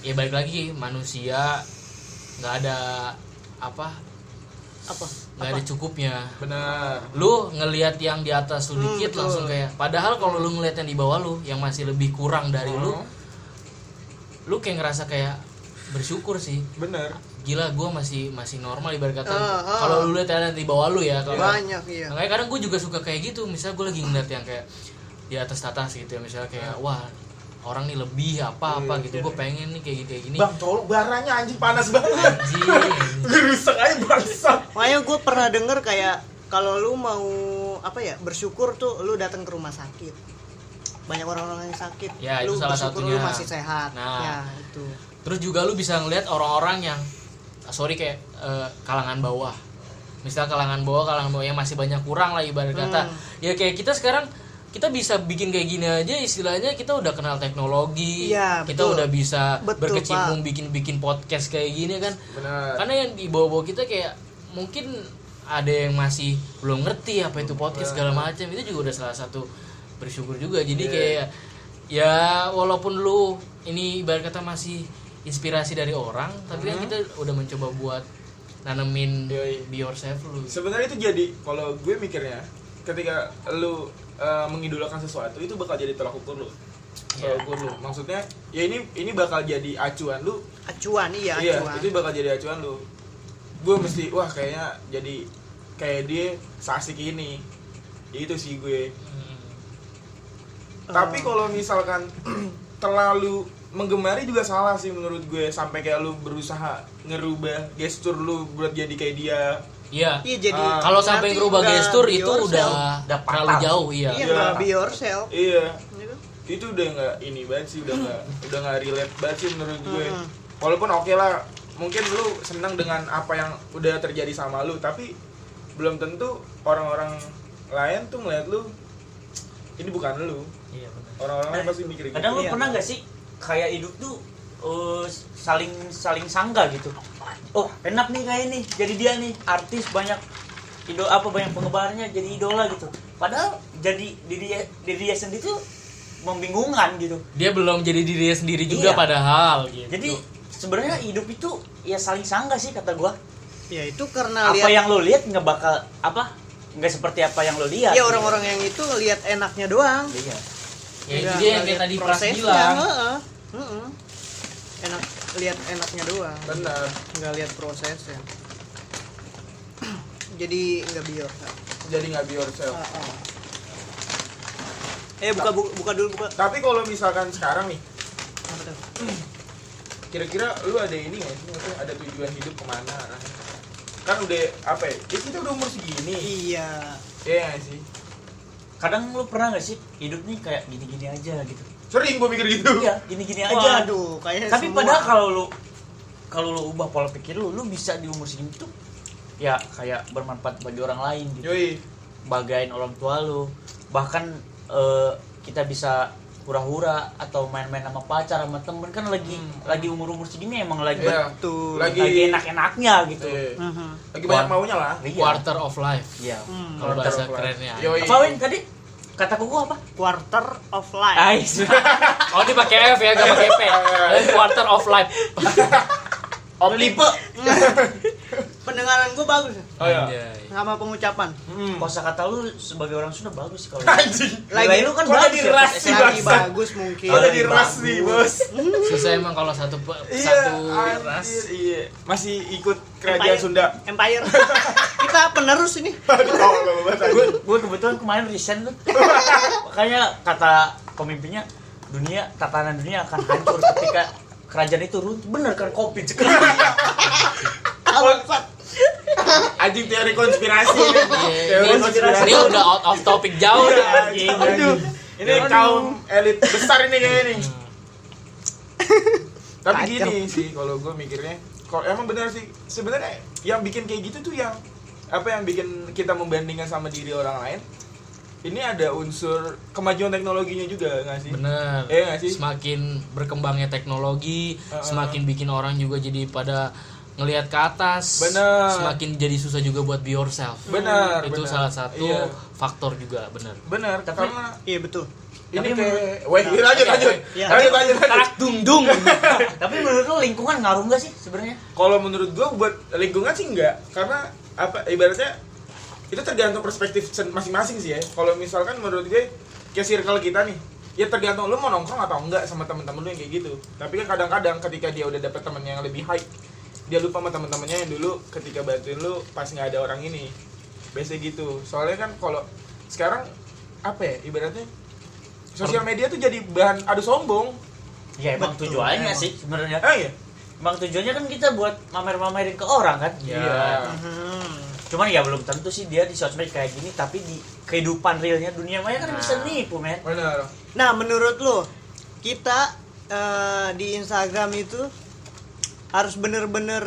S3: ya balik lagi manusia nggak ada apa
S1: Apa?
S3: nggak ada cukupnya.
S2: Benar.
S3: Lu ngelihat yang di atas lu dikit
S1: Hmm, betul.
S3: langsung kayak. Padahal kalau lu ngelihat yang di bawah lu yang masih lebih kurang dari lu,
S1: Hmm.
S3: lu kayak ngerasa kayak bersyukur sih.
S2: Benar.
S3: Gila gue masih masih normal ibarat kata.
S1: Ah, ah.
S3: Kalau lu lihat yang di bawah lu ya kalau
S1: Banyak iya.
S3: Makanya kadang gue juga suka kayak gitu, misalnya gue lagi ngeliat yang kayak di atas atas gitu ya, misalnya kayak
S1: Hmm.
S3: wah orang nih lebih apa apa
S1: Iya,
S3: gitu, gue pengen nih kayak gini kayak gini.
S2: Bang, tolong baranya anjing panas banget.
S3: Anjing.
S2: Rusak aja bangsat.
S1: Makanya gue pernah denger kayak kalau lu mau apa ya bersyukur tuh lu datang ke rumah sakit. Banyak orang-orang yang sakit.
S3: Ya,
S1: lu
S3: itu salah
S1: bersyukur
S3: satunya.
S1: lu masih sehat.
S3: Nah.
S1: Ya itu.
S3: Terus juga lu bisa ngeliat orang-orang yang ah, sorry kayak eh, kalangan bawah.
S1: Hmm.
S3: Misal kalangan bawah, kalangan bawah yang masih banyak kurang lah ibarat kata. Ya kayak kita sekarang kita bisa bikin kayak gini aja istilahnya kita udah kenal teknologi
S1: Iya,
S3: kita
S1: betul.
S3: udah bisa
S1: Betul,
S3: berkecimpung bikin bikin podcast kayak gini kan
S2: benar
S3: karena yang di bawah-bawah kita kayak mungkin ada yang masih belum ngerti apa itu podcast segala macam itu juga udah salah satu bersyukur juga jadi kayak ya walaupun lu ini ibarat kata masih inspirasi dari orang tapi kan kita udah mencoba buat nanemin
S2: Yoi.
S3: be yourself lu
S2: sebenarnya itu jadi kalau gue mikirnya ketika lu eh, mengidolakan sesuatu itu bakal jadi tolak ukur lu tolak ukur lu maksudnya ya ini ini bakal jadi acuan lu
S1: acuan iya
S2: iya
S1: acuan
S2: itu bakal jadi acuan lu gue mesti wah kayaknya jadi kayak dia sasik ini itu sih gue tapi kalau misalkan <clears throat> terlalu menggemari juga salah sih menurut gue sampai kayak lu berusaha ngerubah gestur lu buat jadi kayak dia
S3: iya
S1: iya jadi
S2: Ah.
S3: kalau sampai
S1: nanti
S3: ngerubah
S1: udah
S3: gestur
S1: be
S3: itu
S1: yourself.
S3: udah,
S4: Udah
S3: terlalu
S4: patah.
S3: jauh iya
S1: iya
S2: Iya.
S1: nggak be yourself
S2: iya
S1: gitu.
S2: itu udah nggak ini banget sih
S4: Hmm.
S2: udah nggak udah nggak relate banget sih menurut gue
S1: Mm.
S2: walaupun oke lah mungkin lu senang dengan apa yang udah terjadi sama lu tapi belum tentu orang-orang lain tuh ngeliat lu ini bukan lu
S3: Iya, benar.
S2: orang-orang lain pasti mikir gitu
S4: Nah, kadang lu
S1: Iya.
S4: pernah nggak sih kayak hidup tuh eh, saling saling sangka gitu oh enak nih kayak ini jadi dia nih artis banyak idol apa banyak pengebarnya jadi idola gitu padahal jadi diri diri dia sendiri tuh membingungkan gitu
S3: dia belum jadi dirinya sendiri juga
S4: Iya.
S3: padahal gitu
S4: jadi sebenarnya hidup itu ya saling sangka sih kata gua
S1: ya itu karena
S4: apa
S1: lihat
S4: yang lo lihat nggak bakal apa nggak seperti apa yang lo lihat
S1: ya
S2: Iya,
S1: orang-orang yang itu ngelihat enaknya doang
S4: Iya.
S3: ya itu
S1: Nggak
S3: dia yang
S1: ngelihat
S3: kayak tadi pras
S1: prosesnya,
S3: bilang
S1: heeh. Heeh. enak lihat enaknya doang
S2: benar
S1: nggak lihat prosesnya <clears throat> jadi nggak biar
S2: jadi nggak be yourself
S1: eh buka bu- buka dulu buka
S2: tapi kalau misalkan sekarang nih
S1: Apa tuh?
S2: kira-kira lu ada ini nggak sih Maksudnya ada tujuan hidup kemana arahnya? kan udah apa ya, ya kita udah umur segini
S1: iya
S2: ya nggak sih
S4: kadang lo pernah nggak sih hidup nih kayak gini-gini aja gitu
S2: sering gue mikir gitu
S4: iya gini-gini aja
S1: waduh kayaknya
S4: tapi
S1: semua.
S4: padahal kalau lu kalau lu ubah pola pikir lu lu bisa di umur segini tuh ya kayak bermanfaat bagi orang lain gitu
S2: yoi
S4: bagain orang tua lu bahkan eh, kita bisa hura-hura atau main-main sama pacar sama temen kan lagi lagi umur umur segini emang lagi
S2: Hmm. Iya.
S1: Betul.
S2: lagi
S4: lagi enak-enaknya gitu
S2: Iya.
S1: Mhm.
S2: lagi banyak maunya lah
S4: Iya.
S3: quarter of life
S4: iya
S1: Hmm.
S3: kalau
S2: Quarter
S3: bahasa
S2: of life.
S3: kerennya
S2: Yoi.
S4: apa Win tadi kata kuku apa
S1: quarter of life
S4: Ais
S3: oh ini pakai F ya gak
S2: <laughs>
S3: pakai P Eh, quarter of life
S4: omnipe
S1: <laughs> pendengaran gue bagus
S2: oh iya
S3: Anjay.
S1: sama pengucapan
S2: Hmm.
S4: <laughs> kosa kata lu sebagai orang Sunda bagus sih kalau
S2: anjing
S1: Lagi-
S4: nilai lu kan
S2: Kok
S4: bagus
S2: jadi
S4: ya pas
S2: ras sih,
S4: SMA.
S1: lagi
S2: bangsat.
S1: bagus mungkin
S2: Kok jadi
S4: Iya,
S2: ras nih bos
S3: susah emang kalau satu pe-
S2: iya
S3: satu ras
S2: anjir iya masih ikut kerajaan Sunda
S1: empire <laughs> kita penerus ini
S2: aduh Allah banget
S4: gue gue kebetulan kemarin resign <laughs> tuh makanya kata pemimpinnya dunia tatanan dunia akan hancur ketika kerajaan itu runtuh bener kan kopi <laughs> cekel
S1: Bangsat.
S2: anjing teori konspirasi ini.
S3: Iya,
S2: teori
S3: ini-
S2: konspirasi
S3: ini udah out of topic
S2: Iya,
S3: jauh nih.
S2: anjing, anjing. ini kaum elit besar ini kayaknya nih tapi
S1: Kacau.
S2: gini sih kalau gue mikirnya kalau emang benar sih sebenarnya yang bikin kayak gitu tuh yang apa yang bikin kita membandingkan sama diri orang lain ini ada unsur kemajuan teknologinya juga nggak sih
S3: bener
S2: Iya nggak sih?
S3: semakin berkembangnya teknologi
S2: Uh-uh.
S3: semakin bikin orang juga jadi pada ngelihat ke atas
S2: Bener.
S3: semakin jadi susah juga buat be yourself
S2: Bener,
S3: itu
S2: bener.
S3: salah satu
S2: Iya.
S3: faktor juga bener
S2: benar
S4: Tapi-
S2: karena
S1: iya betul
S2: ini
S4: Tapi Nah,
S2: kayak wait lanjut lanjut
S1: Iya.
S2: lanjut lanjut lanjut.
S3: dung dung
S4: tapi menurut lo lingkungan ngaruh nggak sih sebenarnya
S2: kalau menurut gua buat lingkungan sih enggak karena apa ibaratnya itu tergantung perspektif sen- masing-masing sih ya kalau misalkan menurut gue kayak circle kita nih ya tergantung lu mau nongkrong atau enggak sama temen-temen lu yang kayak gitu tapi kan kadang-kadang ketika dia udah dapet temen yang lebih high dia lupa sama temen-temennya yang dulu ketika bantuin lu pas nggak ada orang ini biasanya gitu soalnya kan kalau sekarang apa ya ibaratnya sosial media tuh jadi bahan adu sombong
S4: ya emang
S1: Betul,
S4: tujuannya
S1: emang.
S4: sih sebenarnya
S2: ah ya
S4: emang tujuannya kan kita buat mamer-mamerin ke orang kan
S3: ya
S2: Iya.
S1: Hmm.
S4: cuman ya belum tentu sih dia di sosmed kayak gini tapi di kehidupan realnya dunia maya kan bisa nipu men
S2: benar
S1: nah menurut lo kita eh, di Instagram itu harus bener-bener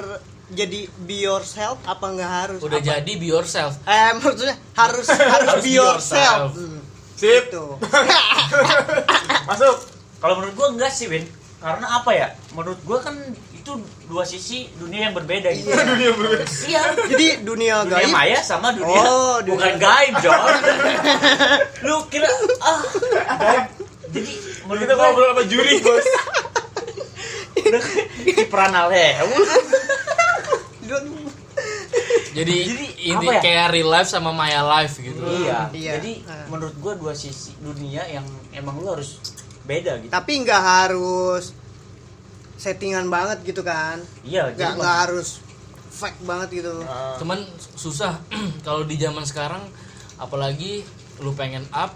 S1: jadi be yourself apa nggak harus
S3: udah
S1: Apa?
S3: jadi be yourself
S1: eh maksudnya harus harus,
S3: Harus
S1: be
S3: be
S1: yourself,
S3: yourself.
S1: Hmm.
S2: Sip.
S1: Tuh.
S2: Masuk.
S4: Kalau menurut gua enggak sih, Win. Karena apa ya? Menurut gua kan itu dua sisi dunia yang berbeda gitu.
S2: Dunia berbeda.
S4: Iya.
S1: Jadi dunia
S4: Dunia
S1: gaib
S4: maya sama dunia,
S1: Oh, dunia-
S4: bukan gaib, John. Lu kira ah gaib. Jadi menurut
S2: Kita
S4: gua kan,
S2: ngobrol sama juri, Bos.
S4: di peranal hewan.
S3: Jadi,
S2: <laughs>
S4: Jadi,
S3: ini
S4: apa ya?
S3: kayak real life sama maya life gitu.
S4: Iya.
S1: Iya.
S4: Jadi
S1: Ah.
S4: menurut gua dua sisi dunia yang emang lu harus beda gitu.
S1: tapi nggak harus settingan banget gitu kan nggak
S4: Iya, jadi
S1: nggak harus fake banget gitu
S2: Nah,
S3: Cuman susah <clears throat> kalau di zaman sekarang apalagi lu pengen up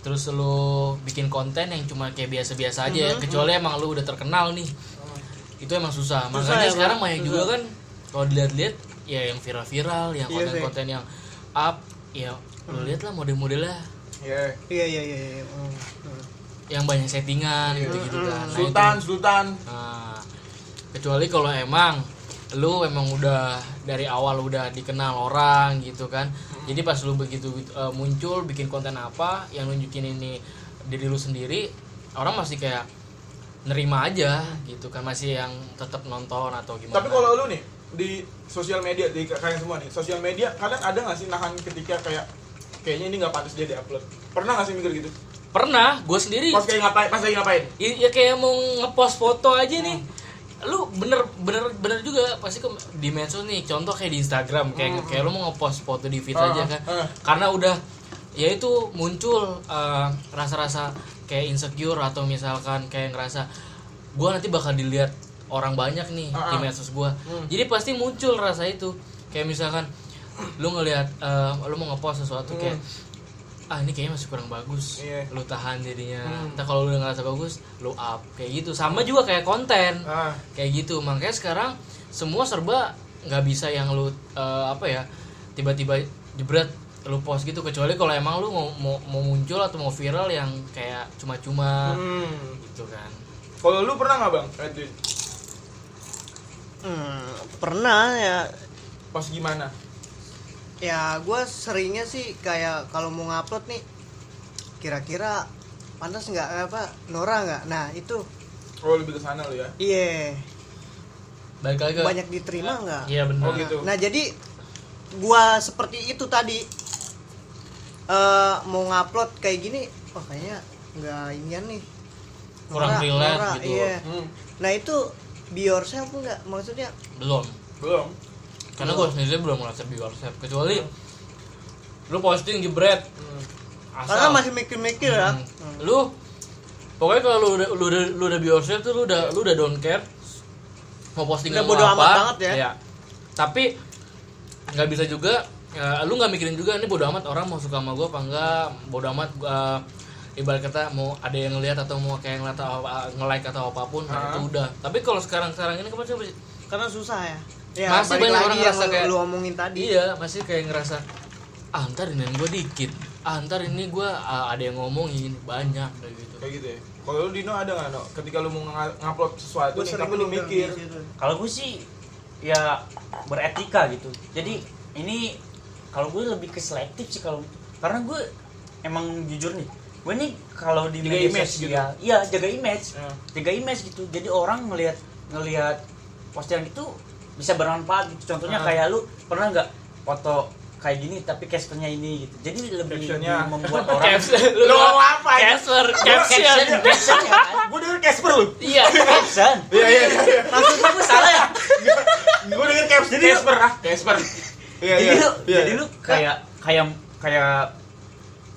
S3: terus lu bikin konten yang cuma kayak biasa-biasa aja ya
S1: Mm-hmm.
S3: kecuali emang lu udah terkenal nih. Itu emang susah. Makanya
S1: ya, Bang.
S3: sekarang banyak
S1: Susah.
S3: juga kan kalau dilihat-lihat ya yang viral-viral, yang
S1: Iya sih. Mm.
S3: konten-konten yang up ya lu lihat lah model-modelnya
S2: ya.
S1: iya iya iya iya. Hmm. Hmm.
S3: yang banyak settingan
S1: Iya.
S3: gitu-gitu kan. Nah, itu-
S2: Sultan, Sultan.
S3: Nah, kecuali kalau emang lu emang udah dari awal udah dikenal orang gitu kan.
S2: Hmm.
S3: Jadi pas lu begitu eh, muncul bikin konten apa yang nunjukin ini diri lu sendiri, orang masih kayak nerima aja gitu kan masih yang tetap nonton atau gimana.
S2: Tapi kalau lu nih di sosial media di kalian semua nih, sosial media kalian ada nggak sih nahan ketika kayak kayaknya ini nggak pantas dia diupload? Pernah nggak sih mikir gitu?
S3: pernah gue sendiri
S2: Pas kayak ngapain? Pas lagi ngapain?
S3: ya, ya kayak mau ngepost foto aja nih lu bener bener bener juga pasti ke di medsos nih contoh kayak di Instagram kayak kayak lu mau ngepost foto di feed
S2: Hmm. Ah,
S3: aja kan
S2: ah.
S3: karena udah ya itu muncul eh, rasa-rasa kayak insecure atau misalkan kayak ngerasa gua nanti bakal dilihat orang banyak nih
S2: Ah, ah.
S3: di medsos gua jadi pasti muncul rasa itu kayak misalkan lu ngelihat eh, lu mau ngepost sesuatu kayak ah ini kayaknya masih kurang bagus
S2: Hmm. Iya.
S3: lu tahan jadinya
S2: Hmm.
S3: Entah Nah, kalau lu udah ngerasa bagus lu up kayak gitu sama juga kayak konten
S2: Ah,
S3: kayak gitu makanya sekarang semua serba nggak bisa yang lu eh, apa ya tiba-tiba jebret lu post gitu kecuali kalau emang lu mau, mau, mau muncul atau mau viral yang kayak cuma-cuma
S2: hmm.
S3: gitu kan
S2: Kalau lu pernah nggak bang? Eh, Edwin?
S1: Hmm, pernah ya
S2: Pas gimana?
S1: ya gue seringnya sih kayak kalau mau ngupload nih kira-kira pantas nggak apa Nora nggak nah itu
S2: Oh lebih ke sana lu ya?
S1: iya
S3: balik lagi ke
S1: banyak diterima nggak
S3: iya benar
S2: Oh gitu.
S1: Nah jadi gua seperti itu tadi eh mau ngupload kayak gini, wah kayaknya nggak inian nih. Norak,
S3: Kurang relate
S1: norak,
S3: gitu.
S1: Iya.
S2: Hmm,
S1: Nah itu be yourself nggak? Maksudnya
S3: belum
S2: belum.
S3: karena gue sendiri belum ngerasa be yourself kecuali lu posting jebret
S2: Hmm.
S1: karena
S3: asal
S1: masih mikir-mikir ya.
S3: Hmm. lu pokoknya kalau lu udah lu udah lu udah be yourself tuh lu udah lu udah don't care mau posting
S1: Udah
S3: mau
S1: bodo
S3: apa
S1: amat banget ya.
S3: iya. tapi nggak bisa juga ya, lu nggak mikirin juga ini bodo amat orang mau suka sama gua apa enggak bodo amat gua ibarat kata mau ada yang ngelihat atau mau kayak ngeliat atau apa- nge-like atau apapun
S2: Ah.
S3: nah, itu udah tapi kalau sekarang sekarang ini kan kemarin sih
S1: Karena susah ya. Ya,
S3: Masih
S1: balik lagi
S3: banyak orang
S1: yang
S3: ngerasa kayak-
S1: lu omongin tadi.
S3: Iya, masih kayak ngerasa ah ntar ini gue dikit, ah ntar ini gue ada yang ngomongin banyak kayak gitu.
S2: Kayak gitu ya. Kalau lu Dino ada nggak no? Ketika lu mau nga- ngupload sesuatu
S1: Gua
S2: nih,
S1: sering
S2: tapi lu
S1: mikir
S2: mikir.
S1: di situ.
S4: Kalau gue sih ya beretika gitu. Jadi ini kalau gue lebih ke selektif sih kalau karena gue emang jujur nih. Gue nih kalau di
S2: Jaga
S4: media
S2: image gitu?
S4: sosial, iya jaga image,
S2: Ya.
S4: jaga image gitu. Jadi orang ngelihat ngelihat postingan itu bisa bermanfaat gitu. Contohnya
S2: Ah.
S4: kayak lu pernah nggak foto kayak gini tapi captionnya ini gitu. Jadi lebih,
S2: Captionnya.
S4: lebih
S2: <laughs>
S4: membuat orang
S3: lu ngomong apa? Caption, caption.
S4: caption, caption ya kan?
S2: Gue denger Casper lu.
S3: Iya.
S4: Caption.
S2: Iya iya iya.
S4: Maksud gue salah ya?
S2: Gue denger Casper. Casper ah, Casper. Iya
S4: jadi
S2: iya.
S4: lu
S2: Iya,
S4: jadi
S2: iya.
S4: lu kayak kayak kayak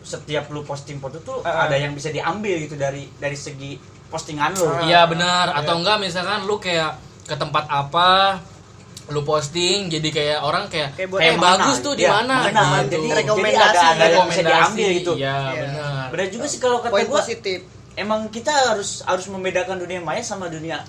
S4: setiap lu posting foto tuh eh,
S2: Ah, ah.
S4: ada yang bisa diambil gitu dari dari segi postingan lu
S2: Ah.
S3: Iya benar. Atau enggak misalkan lu kayak ke tempat apa, lu posting jadi kayak orang kayak
S1: Kayak
S3: kayak,
S1: buat
S4: mana
S3: Eh, bagus tuh di
S4: Iya,
S3: mana.
S4: mana.
S3: gitu.
S4: jadi jadi
S1: Rekomendasi.
S4: ada ada yang bisa
S3: Rekomendasi.
S4: diambil gitu
S3: Iya
S1: Iya.
S3: benar.
S4: benar juga sih kalau kata
S1: Poin
S4: gua
S1: positif.
S4: emang kita harus harus membedakan dunia maya sama dunia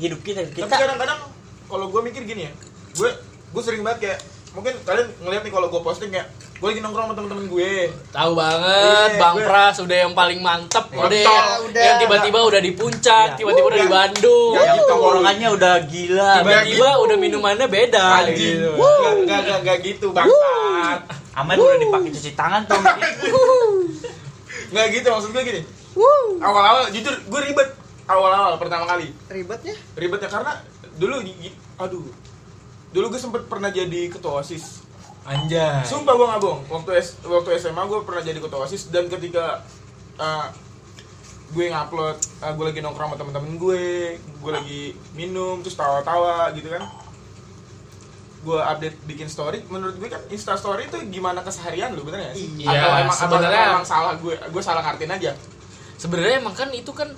S4: hidup kita
S2: Tapi kan
S4: kita
S2: kadang-kadang kalau gue mikir gini ya, gue gue sering banget kayak mungkin kalian ngeliat nih kalau gue posting kayak gue lagi nongkrong sama temen-temen gue.
S3: Tahu banget,
S2: Iya,
S3: Bang
S2: gue-
S3: Pras udah yang paling mantep,
S2: Mantap.
S3: udah yang,
S1: Udah.
S3: yang tiba-tiba udah di puncak,
S4: Iya.
S3: tiba-tiba udah di Bandung.
S2: Iya.
S4: yang tongkrongannya udah gila
S3: tiba-tiba udah minumannya beda
S2: Anjing. Gak, gak, gak, gak gitu bangsat.
S4: aman udah dipakai cuci tangan tuh
S2: nggak gitu maksud gue gini awal-awal jujur gue ribet awal-awal pertama kali
S1: Ribetnya?
S2: ribet ya karena dulu di- di- aduh dulu gue sempet pernah jadi ketua osis
S5: Anjay.
S2: Sumpah gue nggak bohong. Waktu S- waktu SMA gue pernah jadi ketua osis dan ketika uh, gue ngupload, uh, gue lagi nongkrong sama temen-temen gue, gue lagi minum terus tawa-tawa gitu kan. Gue update bikin story, menurut gue kan Insta story itu gimana keseharian lu bener nggak sih?
S3: Iya,
S2: atau emang, atau
S3: sebenarnya.
S2: emang salah gue, gue salah ngartiin aja.
S3: sebenarnya emang kan itu kan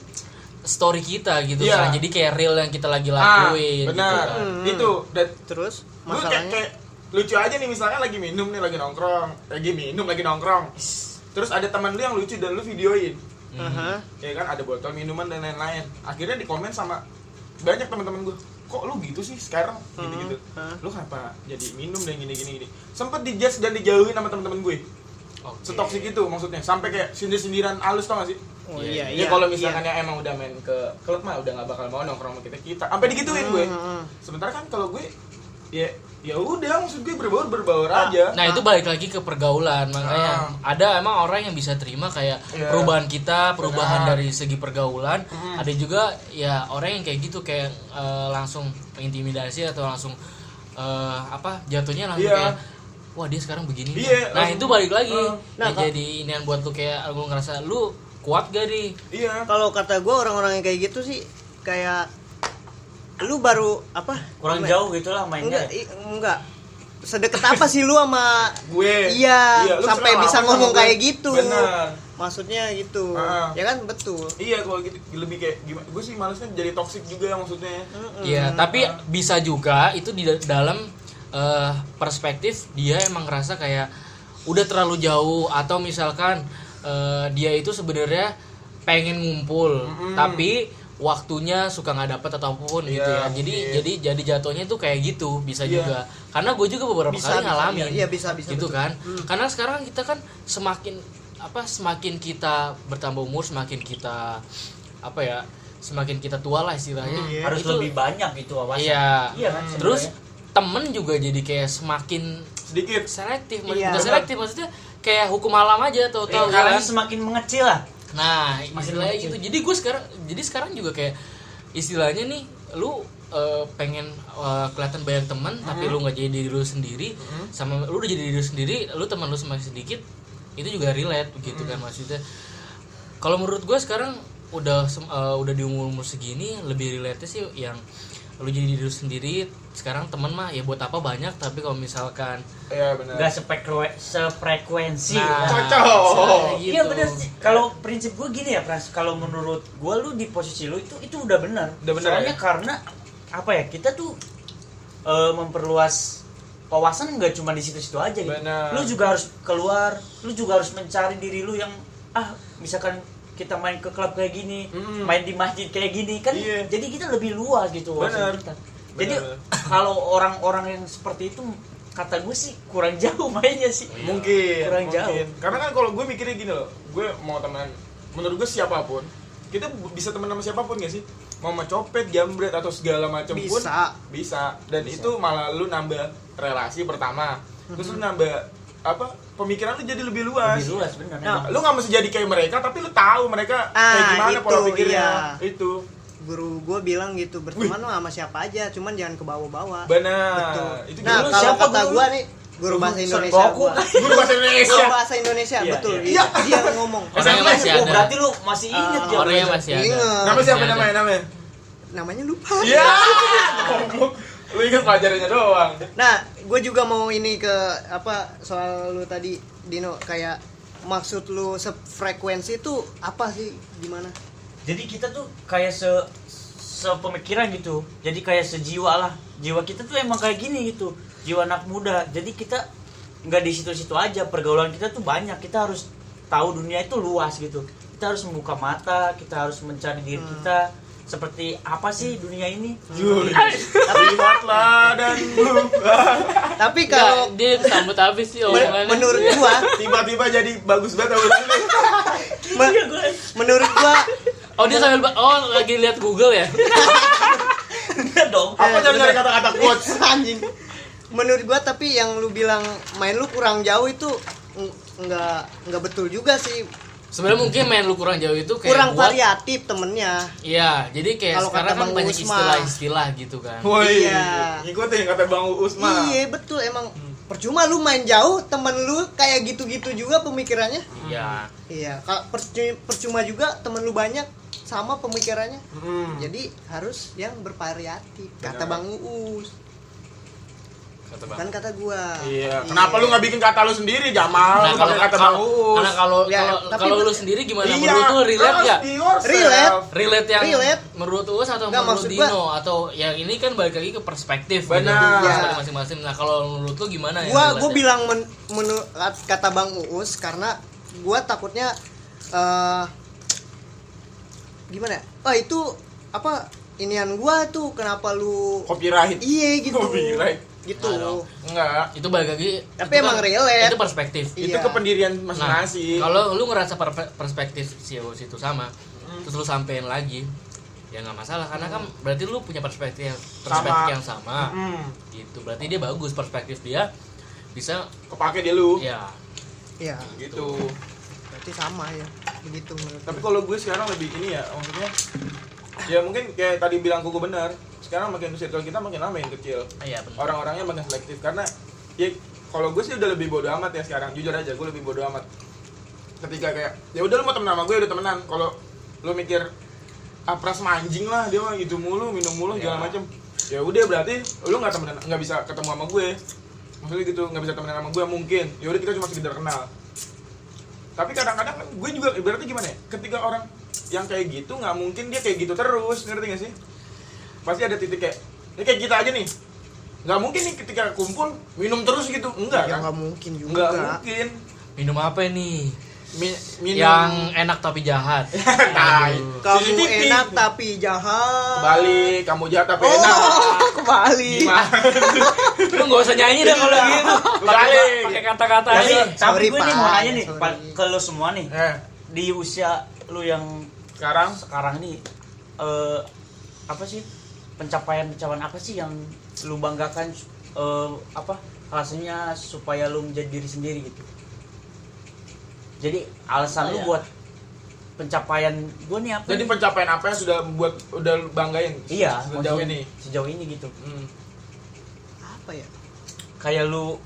S3: story kita gitu
S2: Iya.
S3: kan jadi kayak real yang kita lagi lakuin gitu
S2: benar.
S3: kan.
S1: kan.
S2: Ah, Itu dan
S1: Terus
S2: lu kayak,
S1: masalahnya
S2: kayak lucu aja nih misalnya lagi minum nih lagi nongkrong lagi minum lagi nongkrong terus ada teman lu yang lucu dan lu videoin
S1: Aha.
S2: ya kan ada botol minuman dan lain-lain akhirnya di komen sama banyak teman-teman gue kok lu gitu sih sekarang gitu gitu
S1: Hmm.
S2: lu kenapa jadi minum dan gini gini gini sempet dijudge dan dijauhin sama teman-teman gue
S3: Oke.
S2: setoksik itu maksudnya sampai kayak sindir sindiran alus tau gak sih
S1: Oh
S3: Iya,
S1: iya
S2: ya
S1: iya.
S2: kalau misalkan yang emang udah main ke klub mah udah nggak bakal mau nongkrong sama kita kita sampai digituin gue
S1: Hmm.
S2: sementara kan kalau gue ya ya udah maksud gue berbaur berbaur
S1: Ah,
S2: aja
S3: Nah itu balik lagi ke pergaulan makanya ada emang orang yang bisa terima kayak
S2: Ah. Iya.
S3: perubahan kita perubahan
S2: Benar.
S3: dari segi pergaulan ada juga ya orang yang kayak gitu kayak eh, langsung intimidasi atau langsung eh, apa jatuhnya langsung
S2: Iya.
S3: kayak wah dia sekarang begini
S2: Iya,
S3: nah
S2: langsung-
S3: itu balik lagi
S2: Eh.
S1: Nah,
S3: Ya,
S1: kalau-
S3: jadi ini yang buat lu kayak lu ngerasa lu kuat gak di
S2: iya
S1: Kalau kata gue orang-orang yang kayak gitu sih kayak lu baru apa?
S4: kurang
S1: Ma-
S4: jauh gitu lah
S1: Enggak,
S4: mainnya
S1: i- enggak. Sedekat apa sih lu sama
S2: gue
S1: Iya,
S2: Eh, lu
S1: sampai
S2: kenal
S1: bisa
S2: apa sama
S1: ngomong
S2: gue?
S1: kayak gitu.
S2: benar
S1: Maksudnya gitu.
S2: Ah.
S1: Ya kan betul.
S2: Iya kalau gitu lebih kayak gimana? Gue sih malesnya jadi toksik juga ya maksudnya.
S3: Iya, tapi bisa juga itu di da- dalam eh, perspektif dia emang ngerasa kayak udah terlalu jauh atau misalkan eh, dia itu sebenarnya pengen ngumpul, tapi waktunya suka nggak dapet atau apapun gitu
S2: Iya,
S3: ya. Jadi
S2: mungkin.
S3: jadi jadi jatuhnya tuh kayak gitu bisa
S2: Iya.
S3: juga. Karena gue juga beberapa
S1: Bisa, bisa,
S3: kali ngalamin.
S1: iya. Iya, bisa, bisa,
S3: Gitu
S1: betul. Mm.
S3: kan. Karena sekarang kita kan semakin apa semakin kita bertambah umur semakin kita apa ya semakin kita tua lah istilahnya
S1: Iya.
S4: harus
S3: Itu-
S4: lebih banyak gitu wawasan
S3: Iya.
S4: Iya kan, sebenarnya.
S3: Terus temen juga jadi kayak semakin
S2: Sedikit.
S3: selektif,
S1: Iya.
S3: bukan selektif maksudnya kayak hukum alam aja ya atau
S4: Iya,
S3: tahu kan?
S4: karena semakin mengecil lah
S3: Nah,
S4: Semakin
S3: istilahnya
S4: mengecil.
S3: gitu. Jadi gue sekarang jadi sekarang juga kayak istilahnya nih lu eh, pengen eh, kelihatan banyak teman tapi lu nggak jadi diri lu sendiri
S4: Mhm.
S3: sama lu udah jadi diri lu sendiri lu teman lu semakin sedikit itu juga relate begitu
S4: Mhm.
S3: kan maksudnya kalau menurut gue sekarang udah sem- eh, udah di umur umur segini lebih relate sih yang lu jadi diri lu sendiri sekarang teman mah ya buat apa banyak tapi kalau misalkan
S2: Iya benar.
S4: nggak sepekwe- sefrekuensi
S3: Nah,
S2: cocok.
S3: misalnya gitu.
S4: Iya bener sih. Kalau prinsip gue gini ya Pras, kalau menurut gue lu di posisi lu itu itu udah benar.
S2: Udah benar,
S4: Soalnya
S2: ya?
S4: karena apa ya kita tuh eh, memperluas wawasan nggak cuma di situ-situ aja gitu.
S2: Benar.
S4: Lu juga harus keluar, lu juga harus mencari diri lu yang ah misalkan kita main ke klub kayak gini,
S2: Mm.
S4: main di masjid kayak gini kan
S2: Iya.
S4: jadi kita lebih luas gitu wawasan
S2: Benar.
S4: kita. Jadi
S2: Benar,
S4: <laughs> kalau orang-orang yang seperti itu kata gue sih kurang jauh mainnya sih.
S2: Mungkin.
S4: Kurang
S2: mungkin.
S4: jauh.
S2: Iya. Karena kan kalau gue mikirnya gini loh, gue mau teman. Menurut gue siapapun, kita b- bisa teman sama siapapun gak sih? Mau sama copet, jambret atau segala macam pun
S1: Bisa.
S2: bisa. Dan itu malah lu nambah relasi pertama. Terus lu nambah apa? Pemikiran lu jadi lebih luas.
S4: Lebih luas benar.
S1: Nah,
S4: emang.
S2: Lu nggak mesti jadi kayak mereka, tapi lu tahu mereka kayak
S1: Ah,
S2: gimana pola
S1: itu,
S2: pikirnya.
S1: iya.
S2: Itu.
S1: Guru gue bilang gitu, berteman mah sama siapa aja, cuman jangan ke bawah-bawah.
S2: Benar. Itu
S1: Nah,
S2: dulu
S4: lu
S1: kalau
S4: siapa
S1: kata
S4: guru
S1: gue
S4: lu?
S1: nih, guru bahasa
S4: Guru
S1: Indonesia
S4: Sengoku.
S1: gua.
S2: guru bahasa
S1: Guru
S2: Indonesia.
S1: bahasa Indonesia,
S4: Iya,
S1: betul.
S4: iya.
S1: Dia, dia yang ngomong.
S3: Orangnya
S4: SMA
S3: masih
S4: oh,
S3: ada.
S4: berarti lu masih inget
S1: Ah,
S4: ya
S3: orangnya
S4: Bro?
S3: masih ada.
S1: Ingat.
S2: Nama siapa
S3: Ada.
S1: iya.
S2: namanya namanya?
S1: Namanya lupa.
S2: Iya. Goblok. Lu ingat pelajarannya doang.
S1: Nah, gue juga mau ini ke apa soal lu tadi Dino kayak maksud lu sefrekuensi itu apa sih gimana?
S4: jadi kita tuh kayak se sepemikiran gitu jadi kayak sejiwa lah jiwa kita tuh emang kayak gini gitu jiwa anak muda jadi kita nggak di situ-situ aja pergaulan kita tuh banyak kita harus tahu dunia itu luas gitu kita harus membuka mata kita harus mencari diri kita seperti apa sih dunia ini
S2: Yul. Lihatlah dan lupa.
S1: Tapi
S3: Nggak,
S1: kalau
S3: dia sambut habis sih
S1: men-
S3: omongannya.
S1: menurut gua,
S2: Tiba-tiba jadi bagus banget awal ini.
S1: me- menurut gua
S3: Oh dia sambil ba- oh lagi lihat Google ya.
S4: <laughs> enggak dong
S2: Apa jangan nyari kata-kata quotes?
S1: anjing. Menurut gua tapi yang lu bilang main lu kurang jauh itu ng- nggak nggak betul juga sih
S3: sebenarnya mungkin main lu kurang jauh itu kayak
S1: kurang
S3: buat-
S1: variatif temennya
S3: Iya, jadi kayak
S1: Kalau
S3: sekarang
S1: kata
S3: kan
S1: Bang
S3: banyak
S1: Usma.
S3: istilah-istilah gitu kan.
S2: Woi,
S1: Iya.
S2: ngikutin kata Bang Uus mah.
S1: iya betul emang
S2: Hmm.
S1: percuma lu main jauh temen lu kayak gitu-gitu juga pemikirannya
S3: Iya.
S1: iya kalau percu- percuma juga temen lu banyak sama pemikirannya
S2: Hmm.
S1: jadi harus yang bervariatif kata bang
S2: Benar.
S1: uus
S3: Kata Bang.
S1: bukan kata gua
S2: Iya, kenapa lu nggak bikin kata lu sendiri, Jamal? lu
S3: Nah, kalau
S2: pakai kata Bang Uus.
S3: Karena kalau
S1: Ya,
S3: kalau
S1: tapi Iya,
S3: kalau lu
S1: ber-
S3: sendiri gimana menurut lu relate
S2: harus
S3: gak?
S2: be yourself.
S1: Relate.
S3: Relate yang
S1: Relate.
S3: menurut Uus atau
S1: Nggak,
S3: menurut
S1: maksud
S3: Dino
S1: gua-
S3: atau yang ini kan balik lagi ke perspektif gitu,
S2: Benar.
S3: perspektif masing-masing. Nah, kalau menurut lu gimana ya?
S1: Iya. gua
S3: relate-nya?
S1: gua bilang men- menurut kata bang uus karena gua takutnya eh gimana ya? oh itu apa inian gua tuh kenapa lu
S2: Copyright.
S1: iya gitu
S2: Copyright.
S1: gitu
S3: Nah, dong.
S2: Enggak.
S3: itu balik lagi
S1: Tapi
S3: itu kan-
S1: emang relate.
S3: Itu perspektif.
S2: Itu
S1: Iya.
S2: kependirian
S3: Nah,
S2: masing-masing.
S3: kalau lu ngerasa per- perspektif si Uus itu sama,
S2: Hmm.
S3: terus lu sampein lagi ya nggak masalah karena kan berarti lu punya perspektif yang perspektif
S2: Sama.
S3: yang sama
S2: Hmm,
S3: gitu berarti dia bagus perspektif dia bisa
S2: kepake dia lu.
S3: ya
S1: ya
S2: Gitu.
S1: berarti sama ya begitu menurut
S2: Tapi
S1: gua.
S2: kalau gue sekarang lebih ini ya, maksudnya ya mungkin kayak tadi bilang kuku benar. Sekarang makin circle kita makin lama yang kecil.
S3: iya benar
S2: orang-orangnya makin selektif karena ya kalau gue sih udah lebih bodo amat ya sekarang jujur aja gue lebih bodo amat ketika kayak ya udah lu mau temen sama gue udah temenan kalau lu mikir apres manjing lah dia mah gitu mulu minum mulu
S3: Ya.
S2: segala macem ya udah berarti lu nggak temenan nggak bisa ketemu sama gue maksudnya gitu nggak bisa temenan sama gue mungkin ya udah kita cuma sekedar kenal tapi kadang-kadang kan gue juga berarti gimana ya ketika orang yang kayak gitu nggak mungkin dia kayak gitu terus ngerti gak sih pasti ada titik kayak ya kayak kita aja nih nggak mungkin nih ketika kumpul minum terus gitu enggak
S1: ya
S2: kan
S1: nggak mungkin juga
S2: nggak mungkin
S3: minum apa nih
S2: Mi- minum
S3: yang enak tapi jahat
S2: <laughs> Tai.
S1: kamu
S2: CCTV.
S1: enak tapi jahat
S2: balik kamu jahat tapi
S1: <laughs> oh
S2: enak
S1: kembali <laughs>
S3: lu nggak usah nyanyi deh kalau
S2: Iya.
S3: gitu
S2: Balik.
S3: <laughs> pakai kata-kata
S4: Tapi,
S3: aja
S4: tapi
S1: Sorry,
S4: gue nih
S1: Pak.
S4: mau nanya nih
S1: Sorry.
S4: Pak, ke lu semua nih
S2: Eh,
S4: di usia lu yang
S2: sekarang
S4: sekarang nih eh, apa sih pencapaian-pencapaian apa sih yang lu banggakan eh, apa alasannya supaya lu menjadi diri sendiri gitu jadi alasan lu buat pencapaian gue nih apa
S2: Oh, iya. jadi
S4: nih?
S2: pencapaian apa yang sudah membuat udah lu banggain
S4: iya
S2: sejauh
S4: maksudnya
S2: ini
S4: sejauh ini gitu
S2: Hmm.
S1: apa ya
S4: kayak lu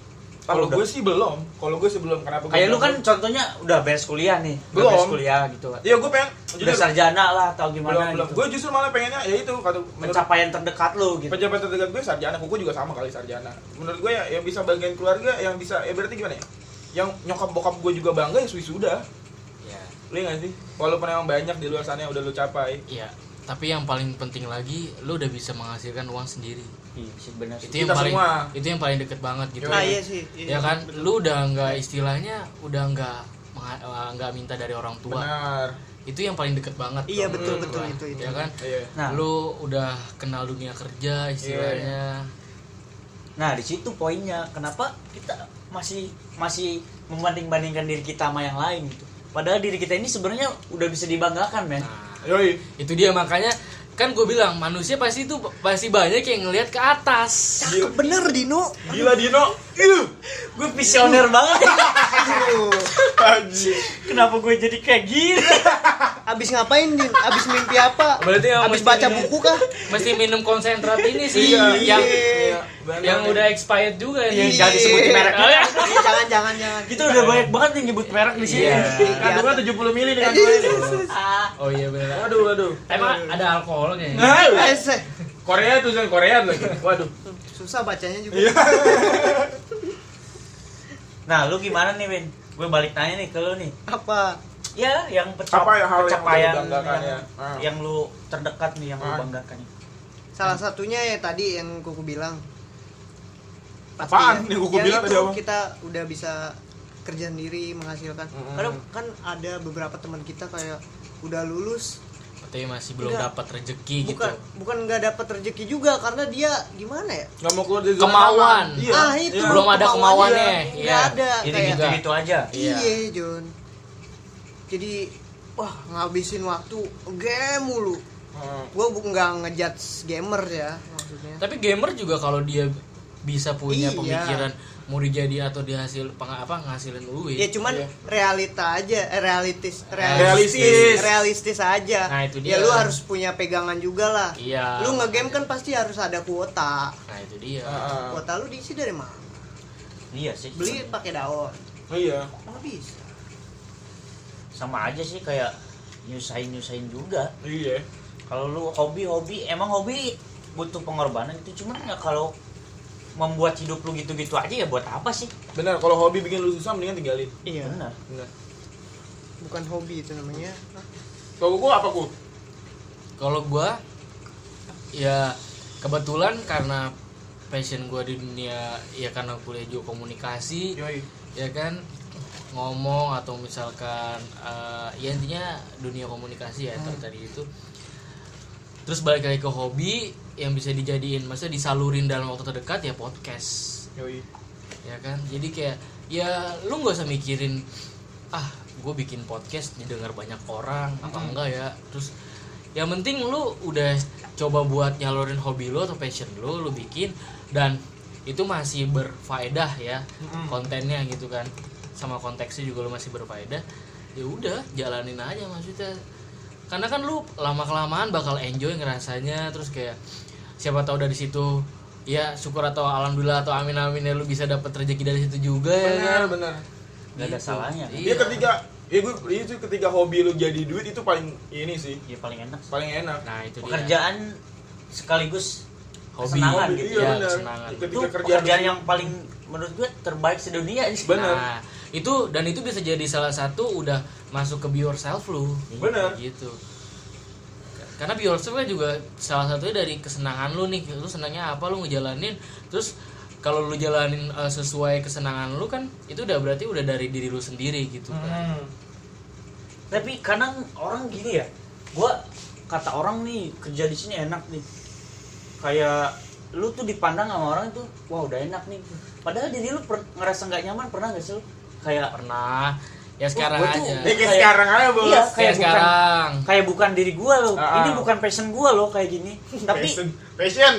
S2: kalau
S4: udah-
S2: gue sih belum kalau gue sih belum kenapa gue
S4: kayak lu
S2: belum?
S4: kan contohnya udah beres kuliah nih udah
S2: Belum.
S4: beres kuliah gitu
S2: Iya gue pengen
S4: udah sarjana lah atau
S2: belum,
S4: gimana
S2: belum.
S4: gitu
S2: Gue justru malah pengennya ya itu kata menurut
S4: pencapaian terdekat lu gitu
S2: pejabat terdekat gue sarjana, kuku juga sama kali sarjana. Menurut gue ya yang bisa bagian keluarga, yang bisa ya berarti gimana ya? Yang nyokap bokap gue juga bangga ya sudah.
S4: Iya,
S3: Ya,
S2: Lu nggak sih? Walaupun emang banyak di luar sana yang udah lu capai.
S3: iya tapi yang paling penting lagi lu udah bisa menghasilkan uang sendiri
S4: Iya, sih, bener sih.
S3: itu yang
S2: Kita
S3: paling
S2: semua.
S3: itu yang paling deket banget gitu
S1: nah iya sih
S3: ya kan lu udah nggak istilahnya udah nggak mengha- nggak minta dari orang tua
S2: Benar.
S3: itu yang paling deket banget
S1: iya
S3: dong.
S1: betul
S2: Hmm.
S1: betul itu itu
S3: ya kan
S2: Iya.
S4: nah
S3: lu udah kenal dunia kerja istilahnya
S1: Iya,
S4: Nah, di situ poinnya. Kenapa kita masih masih membanding-bandingkan diri kita sama yang lain gitu. Padahal diri kita ini sebenarnya udah bisa dibanggakan, men.
S3: nah
S2: Yoi.
S3: itu dia makanya kan gue bilang manusia pasti itu pasti banyak yang ngelihat ke atas
S1: cakep bener Dino
S2: Gila Dino. Ih,
S4: <laughs> Gue visioner banget.
S1: Aduh.
S2: anjing.
S4: Kenapa gue jadi kayak gini?
S1: abis ngapain Din abis mimpi apa
S3: Berarti yang
S1: abis
S3: mesti
S1: baca
S3: minum-
S1: buku kah
S3: mesti minum konsentrat ini sih
S2: Iya,
S3: yang
S2: iya.
S3: yang udah expired juga
S1: Iya.
S3: nih Jangan disebutin mereknya.
S1: Ih, Iya, jangan jangan jangan
S2: Gitu.
S4: Kita udah banyak banget yang nyebut merek di sini.
S2: Iya. Kandungan 70 mili nih kan? kandungan ini.
S4: Ah,
S3: oh iya benar
S2: Waduh, waduh.
S3: emang ada alkoholnya ya?
S1: Eh, seh.
S2: Korea tulisan Korea lagi. Waduh.
S1: susah bacanya juga
S2: Iya.
S4: Nah, lu gimana nih, Win? Gue balik nanya nih ke lu nih.
S1: apa
S4: Ya, yang pencap-
S2: Apa ya hal yang
S4: pencapaian
S2: lu banggakan ya?
S4: yang,
S2: Ah.
S4: yang lu terdekat nih yang lu
S2: Ah.
S4: banggakan.
S1: salah satunya ya tadi yang kuku bilang Pasti
S2: Apaan
S1: ya.
S2: yang kuku
S1: Ya
S2: bilang
S1: itu,
S2: tadi apa?
S1: kita udah bisa kerja sendiri menghasilkan
S2: Mm-mm.
S1: kadang kan ada beberapa teman kita kayak udah lulus
S3: tapi masih belum
S1: Enggak.
S3: dapat rezeki
S2: Iya,
S3: gitu
S1: bukan bukan nggak dapat rezeki juga karena dia gimana ya
S2: Nggak mau keluar dari zona
S3: Kemauan.
S2: aman. Iya.
S1: ah itu
S2: Iya.
S3: Belum ada kemauannya,
S1: nggak
S3: iya.
S1: ada
S4: Jadi
S1: Ah, kayak
S4: gitu-gitu aja.
S3: Iya.
S1: iya John jadi wah ngabisin waktu game mulu
S2: Hmm.
S1: gue nggak ngejudge gamer ya maksudnya
S3: tapi gamer juga kalau dia bisa punya
S1: Iya.
S3: pemikiran mau dijadi atau dihasil peng, apa ngasilin duit
S1: ya cuman
S2: Iya.
S1: realita aja eh, realitis
S2: Realistis.
S1: realistis realistis aja
S3: Iya. Nah, itu
S1: ya
S3: dia.
S1: lu harus punya pegangan juga lah
S3: Iya.
S1: lu ngegame kan pasti harus ada kuota
S3: nah itu dia
S2: Ah, ah.
S1: kuota lu diisi dari mana
S4: iya sih
S1: beli pakai daun
S2: Oh iya.
S1: mana bisa
S4: sama aja sih kayak nyusahin nyusahin juga
S2: Iya.
S4: kalau lu hobi hobi emang hobi butuh pengorbanan itu cuman ya kalau membuat hidup lu gitu-gitu aja ya buat apa sih
S2: Benar, kalau hobi bikin lu susah mendingan tinggalin.
S1: iya
S4: benar
S2: Benar.
S1: bukan hobi itu namanya
S3: Iya.
S2: Kalau gua apa ku?
S3: kalau gua ya kebetulan karena passion gua di dunia ya karena kuliah juga komunikasi
S2: Yoi.
S3: ya kan ngomong atau misalkan eh, ya intinya dunia komunikasi ya ter- tadi itu terus balik lagi ke hobi yang bisa dijadiin maksudnya disalurin dalam waktu terdekat ya podcast
S2: Yoi.
S3: ya kan jadi kayak ya lu nggak usah mikirin ah gue bikin podcast didengar banyak orang apa enggak ya terus yang penting lu udah coba buat nyalurin hobi lu atau passion lu lu bikin dan itu masih berfaedah ya kontennya gitu kan sama konteksnya juga lu masih berfaedah ya udah jalanin aja maksudnya karena kan lu lama kelamaan bakal enjoy ngerasanya terus kayak siapa tahu dari situ ya syukur atau alhamdulillah atau amin amin ya lu bisa dapat rezeki dari situ juga ya kan?
S2: Benar, benar.
S4: gak ada
S3: Gitu.
S4: salahnya kan?
S2: Iya ketika ya gua itu ketika hobi lu jadi duit itu paling ini sih,
S4: ya paling enak sih.
S2: paling enak.
S3: nah itu dia
S4: pekerjaan sekaligus
S3: hobi
S4: kesenangan
S2: Hobi,
S4: gitu
S2: iya,
S3: ya,
S2: benar.
S3: kesenangan.
S4: itu
S2: Ketika kerjaan,
S4: pekerjaan yang paling menurut gue terbaik sedunia sih
S2: Benar.
S3: nah itu dan itu bisa jadi salah satu udah masuk ke be yourself lu
S2: Benar.
S3: gitu karena be yourself kan juga salah satunya dari kesenangan lu nih lu senangnya apa lu ngejalanin terus kalau lu jalanin eh, sesuai kesenangan lu kan itu udah berarti udah dari diri lu sendiri gitu kan
S2: Hmm.
S4: tapi kadang orang gini ya gua kata orang nih kerja di sini enak nih kayak lu tuh dipandang sama orang itu wah udah enak nih padahal diri lu per- ngerasa nggak nyaman pernah nggak sih lu kayak
S3: pernah ya sekarang
S4: gua tuh-
S3: aja
S2: Ya, kayak
S4: Kayak-
S2: sekarang aja, Bos.
S4: iya
S3: kayak
S4: kayak bukan
S3: sekarang
S4: kayak bukan diri gua loh
S2: Ah, ah.
S4: ini bukan passion gua loh kayak gini tapi
S2: <laughs> Passion. Passion.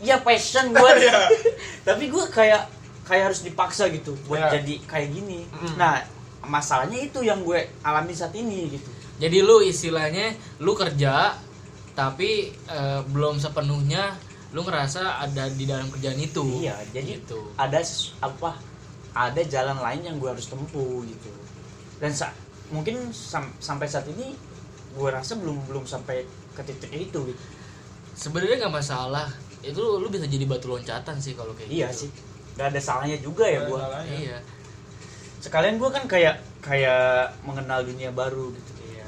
S4: Iya passion gue
S2: <laughs> Iya.
S4: <laughs> tapi gue kayak kayak harus dipaksa gitu buat
S2: Iya.
S4: jadi kayak gini
S2: Mm.
S4: nah masalahnya itu yang gue alami saat ini gitu
S3: Jadi lu istilahnya lu kerja tapi eh, belum sepenuhnya lu ngerasa ada di dalam kerjaan itu.
S4: iya jadi
S3: gitu.
S4: ada ses- apa ada jalan lain yang gue harus tempuh gitu dan sa- mungkin sam- sampai saat ini gue rasa belum belum sampai ke titik itu gitu.
S3: Sebenarnya nggak masalah. Itu lu, lu bisa jadi batu loncatan sih kalau kayak
S4: iya
S3: gitu.
S4: sih gak ada salahnya juga ya gue
S2: Salahnya.
S3: Iya.
S4: sekalian gue kan kayak kayak mengenal dunia baru gitu ya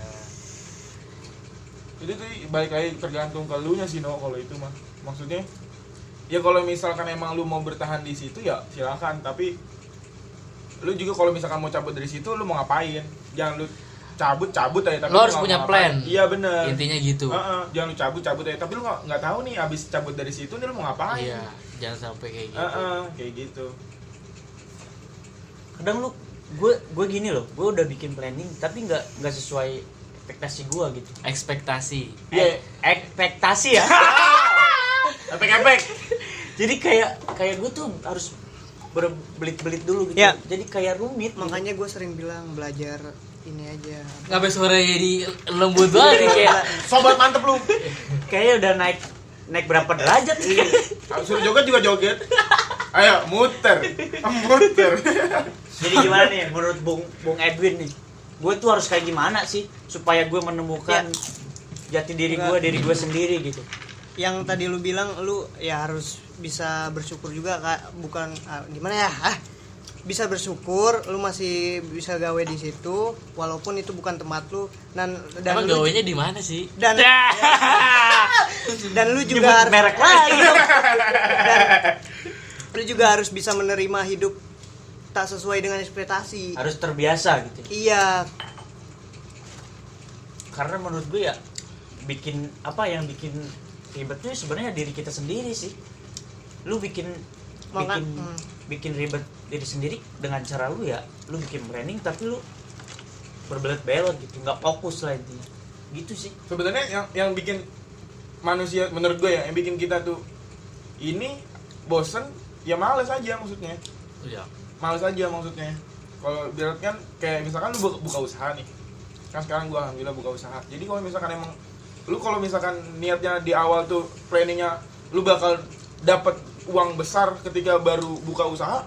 S2: Jadi tuh balik lagi tergantung ke lu nya sih no kalau itu mah. Maksudnya ya kalau misalkan emang lu mau bertahan di situ ya silakan tapi lu juga kalau misalkan mau cabut dari situ lu mau ngapain? Jangan lu cabut cabut aja tapi
S3: Lu harus
S2: nggak
S3: punya
S2: mau
S3: plan.
S2: ngapain. Iya bener Ah,
S3: Intinya gitu.
S2: Heeh, jangan lu cabut cabut aja tapi lu nggak nggak tahu nih abis cabut dari situ nih lu mau ngapain?
S3: Iya, jangan sampai kayak gitu.
S2: Heeh, kayak gitu.
S4: kadang lu gue gue gini loh gue udah bikin planning tapi nggak nggak sesuai ekspektasi gue gitu Eh,
S3: Ekspektasi.
S2: Iya.
S4: ekspektasi ya
S2: Efek efek.
S4: jadi kayak kayak gue tuh harus berbelit-belit dulu gitu
S1: Ya.
S4: jadi kayak rumit
S1: makanya gue sering bilang belajar ini aja
S3: Ngapain suara jadi lembut banget nih,
S2: <laughs>
S3: kayak
S2: Sobat mantep lu.
S4: kayak udah naik naik berapa derajat
S2: Kalau Suruh joget juga joget. Ayo muter, muter. <laughs>
S4: jadi gimana nih menurut bung bung Edwin nih gue tuh harus kayak gimana sih supaya gue menemukan jati diri gue diri gue sendiri gitu
S1: yang tadi lu bilang lu ya harus bisa bersyukur juga kak bukan ah, gimana ya Hah? bisa bersyukur lu masih bisa gawe di situ walaupun itu bukan tempat lu dan dan
S3: Emang
S1: lu
S3: gawainya di mana sih?
S1: dan dan lu
S4: Nyebut
S1: juga harus Ah, iya.
S4: merek lagi dong.
S1: lu juga harus bisa menerima hidup tak sesuai dengan ekspektasi
S4: harus terbiasa gitu
S1: iya
S4: karena menurut gue ya bikin apa yang bikin ribet tuh sebenarnya diri kita sendiri sih lu bikin
S1: Maka-
S4: bikin
S1: hmm.
S4: bikin ribet diri sendiri dengan cara lu ya lu bikin branding tapi lu berbelet-belet gitu nggak fokus lah intinya gitu sih
S2: sebenarnya yang yang bikin manusia menurut gue ya yang bikin kita tuh ini bosen ya males aja maksudnya
S3: Iya.
S2: males aja maksudnya kalau biar kan kayak misalkan lu bu- buka usaha nih kan sekarang gua alhamdulillah buka usaha jadi kalau misalkan emang lu kalau misalkan niatnya di awal tuh planningnya lu bakal dapat uang besar ketika baru buka usaha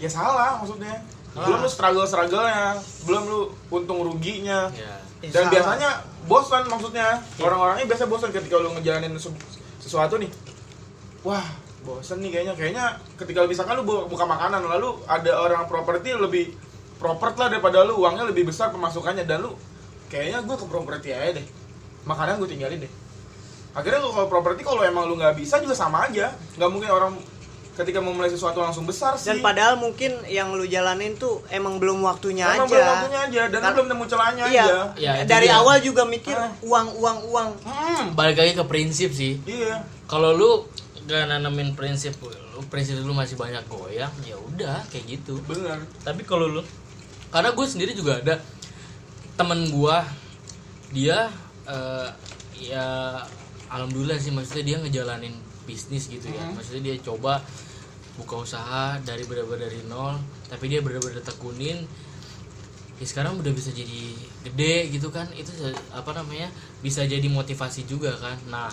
S2: ya salah maksudnya belum lu struggle strugglenya belum lu untung ruginya
S3: Iya.
S1: Ya,
S2: dan
S1: salah.
S2: biasanya bosan maksudnya orang-orangnya biasanya bosan ketika lu ngejalanin se- sesuatu nih wah bosan nih kayaknya kayaknya ketika lu misalkan lu bu- buka makanan lalu ada orang properti lebih properti lah daripada lu uangnya lebih besar pemasukannya dan lu kayaknya gue ke properti aja deh makanan gue tinggalin deh akhirnya lu kalau properti kalau emang lu nggak bisa juga sama aja nggak mungkin orang ketika memulai sesuatu langsung besar sih
S1: dan padahal mungkin yang lu jalanin tuh emang belum waktunya aja
S2: Emang belum waktunya aja dan lu
S1: Karena-
S2: belum nemu celahnya
S1: iya
S2: aja
S3: Iya, itu
S1: dari
S3: dia.
S1: awal juga mikir
S2: Ah.
S1: uang uang uang
S2: hmm
S3: Balik lagi ke prinsip sih.
S2: iya
S3: Kalau lu gak nanamin prinsip lu, prinsip lu masih banyak goyang, ya udah kayak gitu.
S2: bener
S3: Tapi kalau lu karena gue sendiri juga ada temen gue dia eh, ya alhamdulillah sih maksudnya dia ngejalanin bisnis gitu ya. Maksudnya dia coba buka usaha dari benar-benar dari nol, tapi dia benar-benar tekunin ya sekarang udah bisa jadi gede gitu kan itu se- apa namanya bisa jadi motivasi juga kan nah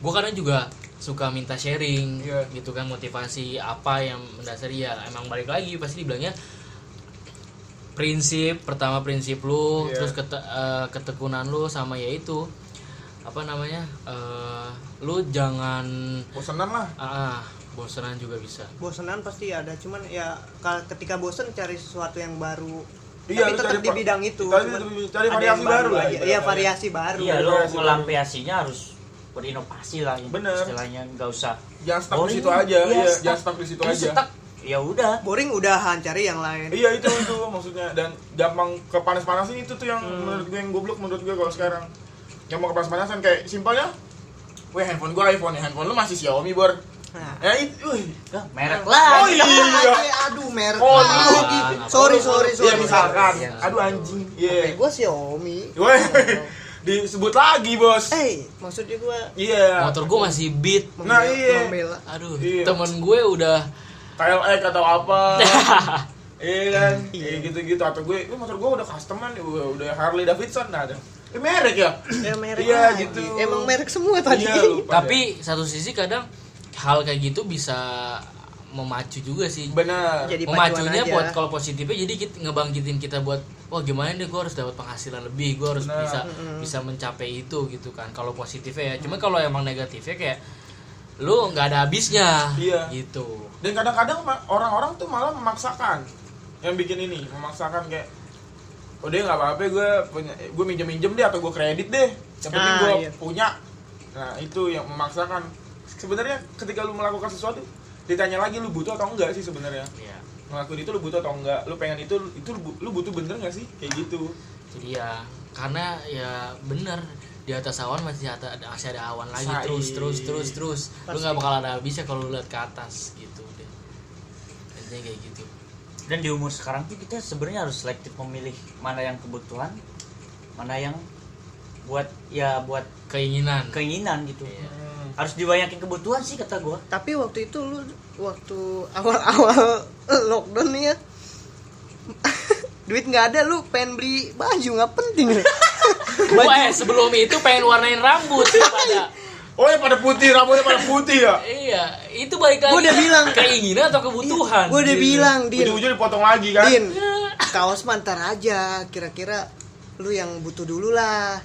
S3: gue kadang juga suka minta sharing
S2: Iya.
S3: gitu kan motivasi apa yang mendasari ya emang balik lagi pasti dibilangnya prinsip pertama prinsip lu
S2: Iya.
S3: terus kete- eh, ketekunan lu sama ya itu apa namanya eh, lu jangan
S2: bosenan lah
S3: ah ah, bosenan juga bisa
S1: bosenan pasti ada cuman ya ka- ketika bosen cari sesuatu yang baru tapi
S2: Iya, lu
S1: tetap
S2: cari
S1: di
S2: par-
S1: bidang itu
S2: cari-
S1: cuman
S2: cari
S1: ada
S2: variasi
S1: yang
S2: baru lah,
S1: aja.
S2: ibaratnya.
S1: iya variasi baru
S4: Iya, lo
S2: Bener sih,
S4: melampiasinya harus berinovasi lah ya.
S2: Bener.
S4: istilahnya nggak usah
S2: jangan stuck di
S4: Boring.
S2: situ aja
S4: Iya,
S2: iya,
S4: stuck.
S2: jangan stuck di situ
S4: Lu
S2: aja
S4: stuck, ya udah
S1: boring udahan cari yang lain
S2: iya itu itu maksudnya dan gampang kepanas-panasin itu tuh yang menurut gue yang goblok menurut gue kalau sekarang yang mau kepanas-panasan kayak simpelnya Weh handphone gue iPhone ya handphone lu masih Xiaomi bor
S1: Nah.
S2: ya itu wih.
S4: Gak, merek lah
S2: Oh,
S1: Ah,
S2: iya.
S1: kan Lagi, aduh merek
S2: Oh,
S1: lagi
S3: iya.
S1: sorry sorry sorry Eh,
S2: Iya, misalkan
S3: Iya.
S2: aduh anjing iya
S1: gue Xiaomi
S2: Weh, disebut lagi bos
S1: eh maksudnya gue
S2: iya
S3: motor gue masih beat
S2: Nah, iya.
S1: membela
S3: aduh
S2: Iya.
S3: temen gue udah
S2: KLX atau apa iya kan iya gitu-gitu atau gue "Eh, motor gue udah custom kan udah udah Harley Davidson nah ada eh, merek ya <clears throat>
S1: ya merek
S2: Iya,
S1: lagi.
S2: gitu.
S1: emang merek semua tadi
S2: Iya, lupa deh.
S3: tapi satu sisi kadang hal kayak gitu bisa memacu juga sih
S2: benar
S1: Jadi pacuan
S3: memacunya
S1: aja.
S3: buat kalau positifnya jadi kita ngebangkitin kita buat wah gimana deh gue harus dapat penghasilan lebih gue harus
S2: Benar.
S3: bisa bisa mencapai itu gitu kan kalau positifnya ya cuma kalau emang negatifnya kayak lu nggak ada habisnya
S2: Iya.
S3: gitu
S2: dan kadang-kadang ma- orang-orang tuh malah memaksakan yang bikin ini memaksakan kayak udah nggak apa-apa gue punya gue minjem minjem deh atau gue kredit deh yang penting
S1: Ah,
S2: gue
S1: iya.
S2: punya nah itu yang memaksakan sebenarnya ketika lu melakukan sesuatu ditanya lagi lu butuh atau enggak sih sebenarnya
S3: ya
S2: ngelakuin itu lu butuh atau enggak lu pengen itu itu lu bu- lu butuh bener nggak sih kayak gitu
S3: jadi ya karena ya bener di atas awan masih ada masih ada awan lagi
S2: Sai.
S3: terus terus terus terus lu
S1: Pasti.
S3: nggak bakal ada habisnya kalau lu lihat ke atas gitu deh intinya kayak gitu
S4: dan di umur sekarang tuh kita sebenarnya harus selektif memilih mana yang kebutuhan mana yang buat ya buat
S3: keinginan <laughs>
S4: keinginan gitu
S3: Iya.
S2: Hmm.
S4: harus dibanyakin kebutuhan sih kata gua
S1: tapi waktu itu lu waktu awal-awal <laughs> lockdown nih ya <laughs> duit nggak ada lu pengen beli baju nggak penting
S3: Gue eh, sebelum itu pengen warnain
S1: <laughs>
S3: rambut pada
S2: oh ya pada putih rambutnya pada putih ya
S3: Iya, itu balik lagi.
S1: Gua udah bilang.
S3: keinginan atau kebutuhan.
S1: gue udah
S3: Gitu.
S1: bilang din
S2: ujung-ujung dipotong lagi kan
S1: din kaos mantar aja kira-kira lu yang butuh dulu lah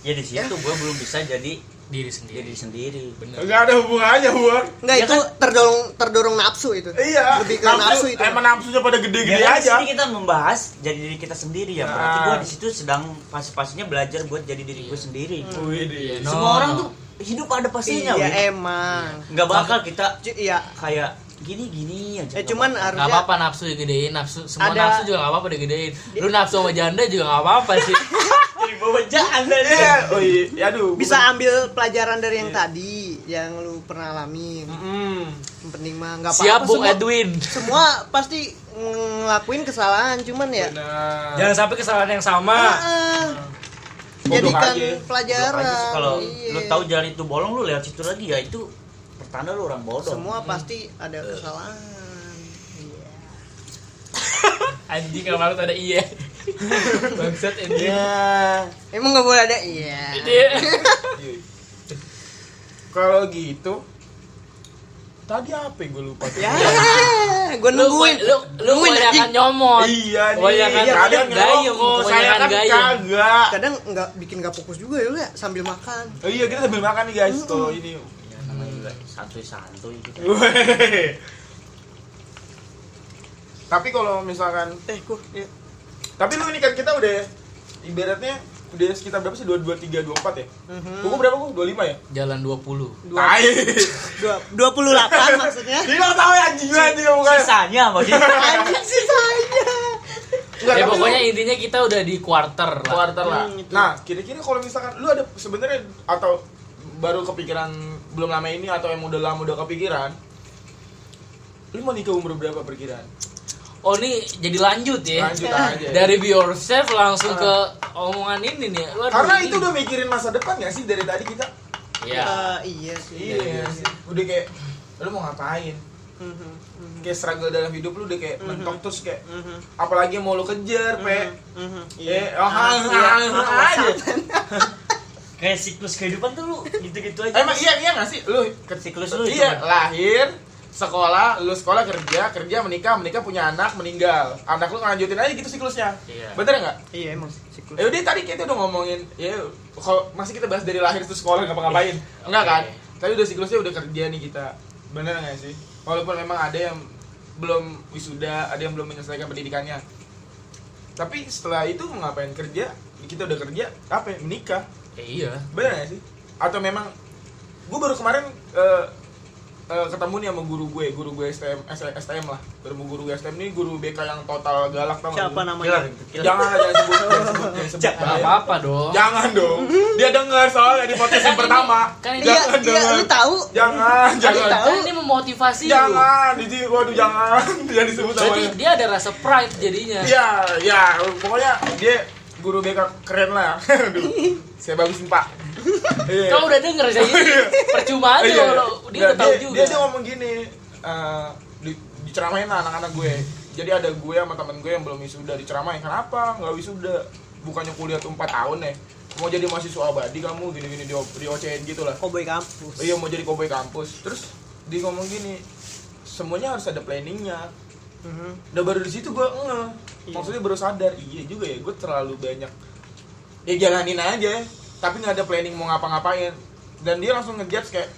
S4: ya Iya. di situ gua belum bisa jadi
S3: diri sendiri.
S4: jadi sendiri
S3: Bener.
S2: nggak ada hubungannya buat
S1: nggak
S4: Ya
S1: itu terdorong terdorong nafsu itu
S2: iya
S1: lebih ke nafsu itu
S2: emang nafsunya pada gede-gede
S4: Ya, kan di
S2: aja
S4: sini kita membahas jadi diri kita sendiri ya. Berarti
S2: Nah.
S4: gua di situ sedang fase-fasenya belajar buat jadi diri gue sendiri.
S2: Wih,
S3: Iya,
S2: deh.
S3: no.
S4: Semua orang tuh hidup ada pastinya,
S1: iya
S4: Wi.
S1: emang
S4: nggak bakal kita
S1: Cu- iya
S4: kayak gini-gini aja.
S1: eh
S4: nggak
S1: cuman
S4: bakal.
S3: Gak
S1: harusnya
S3: apa-apa nafsu digedein, nafsu semua
S1: Ada-
S3: nafsu juga gak apa-apa digedein. Lu nafsu sama janda juga gak apa-apa sih.
S4: jadi bawajaan aja.
S2: Iya, oh iya, Ya, aduh.
S1: bisa ambil pelajaran dari yang tadi yang lu pernah alami
S2: Hmm.
S1: yang penting mah nggak apa-apa
S3: Siap Eh, Bung
S1: semua,
S3: Edwin.
S1: semua pasti ngelakuin kesalahan cuman ya
S2: Benar.
S3: Jangan sampai kesalahan yang sama.
S1: ah,
S2: Bodoh
S1: jadikan
S2: aja.
S1: pelajaran
S4: Apalagi sih Kalau
S1: Iya.
S4: lu tahu jalan itu bolong lu lewat situ lagi ya itu pertanda lu orang bodoh.
S1: semua pasti ada kesalahan
S3: anjing gak malu ada iya bangsat ini
S1: Ya. Emang nggak boleh ada? Iya.
S2: Iya. Kalau gitu tadi apa yang gue lupa?
S1: Ya. Gue
S3: lu
S1: nungguin.
S3: lu lu
S1: Nungguin,
S3: kebanyakan
S1: anjing.
S3: nyomot
S2: Iya nih.
S3: Kebanyakan
S2: Kalian
S3: gayung,
S2: ngerokok, saya
S3: kebanyakan
S2: kan
S3: gayung.
S2: kagak.
S1: Kadang nggak bikin nggak fokus juga ya lu ya sambil makan.
S2: Oh iya kita sambil makan nih guys. Kalau ini.
S4: Ya, namanya juga santuy-santuy gitu.
S2: Weh. Tapi kalau misalkan,
S1: Eh, kok ya.
S2: tapi lu ini kan kita udah ibaratnya udah sekitar berapa sih? 2 2 3 2 4 ya?
S1: Mhm.
S2: Kuku berapa kuku? 25 ya?
S3: jalan 20
S1: Dua-
S2: Tai.
S1: dua- 28 maksudnya.
S2: Dia enggak tahu ya anjing lu anjing kamu kan.
S4: Sisanya apa sih?
S1: Anjing sisanya.
S2: Enggak,
S3: ya
S2: tapi lu-
S3: pokoknya intinya kita udah di quarter lah
S2: quarter lah.
S1: Hmm, itu.
S2: Nah, kira-kira kalau misalkan lu ada sebenarnya atau baru kepikiran belum lama ini atau yang udah lama udah kepikiran, lu mau nikah umur berapa perkiraan?
S3: oh ini jadi lanjut ya
S2: Lanjut iya. aja.
S3: dari be yourself langsung ke omongan ini nih Waduh,
S2: Karena
S3: ini-
S2: itu udah mikirin masa depan gak sih dari tadi kita?
S3: ya
S1: Eh, iya sih.
S2: Iya. sih. Udah kayak lu mau ngapain?
S1: Mhm, mhm,
S2: Kayak struggle dalam hidup lu udah kayak mentok terus kayak
S1: mhm,
S2: apalagi yang mau lu kejar, pe.
S1: mhm.
S2: Eh, oh, ah, ah, ah, aja.
S4: Kayak siklus kehidupan tuh lu gitu-gitu aja.
S2: Emang iya iya nggak sih lu ke
S4: Siklus lu
S2: iya
S3: ya?
S4: cuma.
S2: lahir sekolah lu sekolah kerja kerja menikah menikah punya anak meninggal anak lu ngelanjutin aja gitu siklusnya
S3: Iya.
S2: bener nggak
S1: Iya emang siklus.
S2: ya udah tadi kita udah ngomongin ya kalau masih kita bahas dari lahir terus sekolah ngapa ngapain enggak kan
S3: Iya, Oke.
S2: tapi udah siklusnya udah kerja nih kita bener nggak sih walaupun memang ada yang belum wisuda ada yang belum menyelesaikan pendidikannya tapi setelah itu mau ngapain kerja kita udah kerja apa ya? menikah
S3: Eh, iya
S2: Bener gak sih? Atau memang gue baru kemarin eh, eh, ketemu nih sama guru gue, guru gue STM, S- STM lah. Baru guru gue STM nih guru BK yang total galak tau gak
S1: Siapa
S2: lu?
S1: namanya?
S2: Jangan jangan sebut, jangan sebut, jangan sebut.
S3: Nggak
S2: Bahaya.
S3: apa-apa dong
S2: Jangan dong. Dia dengar soalnya di podcast yang
S3: Kan ini-
S2: pertama.
S3: kan ini-
S1: Iya,
S2: Jangan
S1: iya
S2: dengar.
S1: lu tahu.
S2: Jangan, jangan.
S1: tahu.
S3: kan ini memotivasi lu
S2: Jangan, jadi waduh jangan. <laughs> Jangan disebut
S3: jadi
S2: Iya, namanya.
S3: dia ada rasa pride jadinya
S2: Iya, iya, pokoknya dia guru BK keren lah. ya. <laughs> Aduh, saya bagusin,
S3: <laughs>
S2: Pak. Iya.
S3: kau udah denger saya ini percuma aja
S2: Iya, iya.
S3: kalau dia
S2: Nah,
S3: udah tahu juga
S2: Dia, dia ngomong gini, eh, di- diceramain lah anak-anak gue. Jadi ada gue sama temen gue yang belum wisuda diceramain. Kenapa? Nggak wisuda. Bukannya kuliah tuh 4 tahun ya. Mau jadi mahasiswa abadi kamu gini-gini di, di OCN gitu lah.
S1: Koboi kampus.
S2: Iya mau jadi koboi kampus. Terus dia ngomong gini, semuanya harus ada planningnya.
S1: Mhm.
S2: Udah baru di situ gue ngeh.
S1: Iya.
S2: Maksudnya baru sadar, iya juga ya gue terlalu banyak ya jalanin aja, tapi nggak ada planning mau ngapa-ngapain. Dan dia langsung ngejudge kayak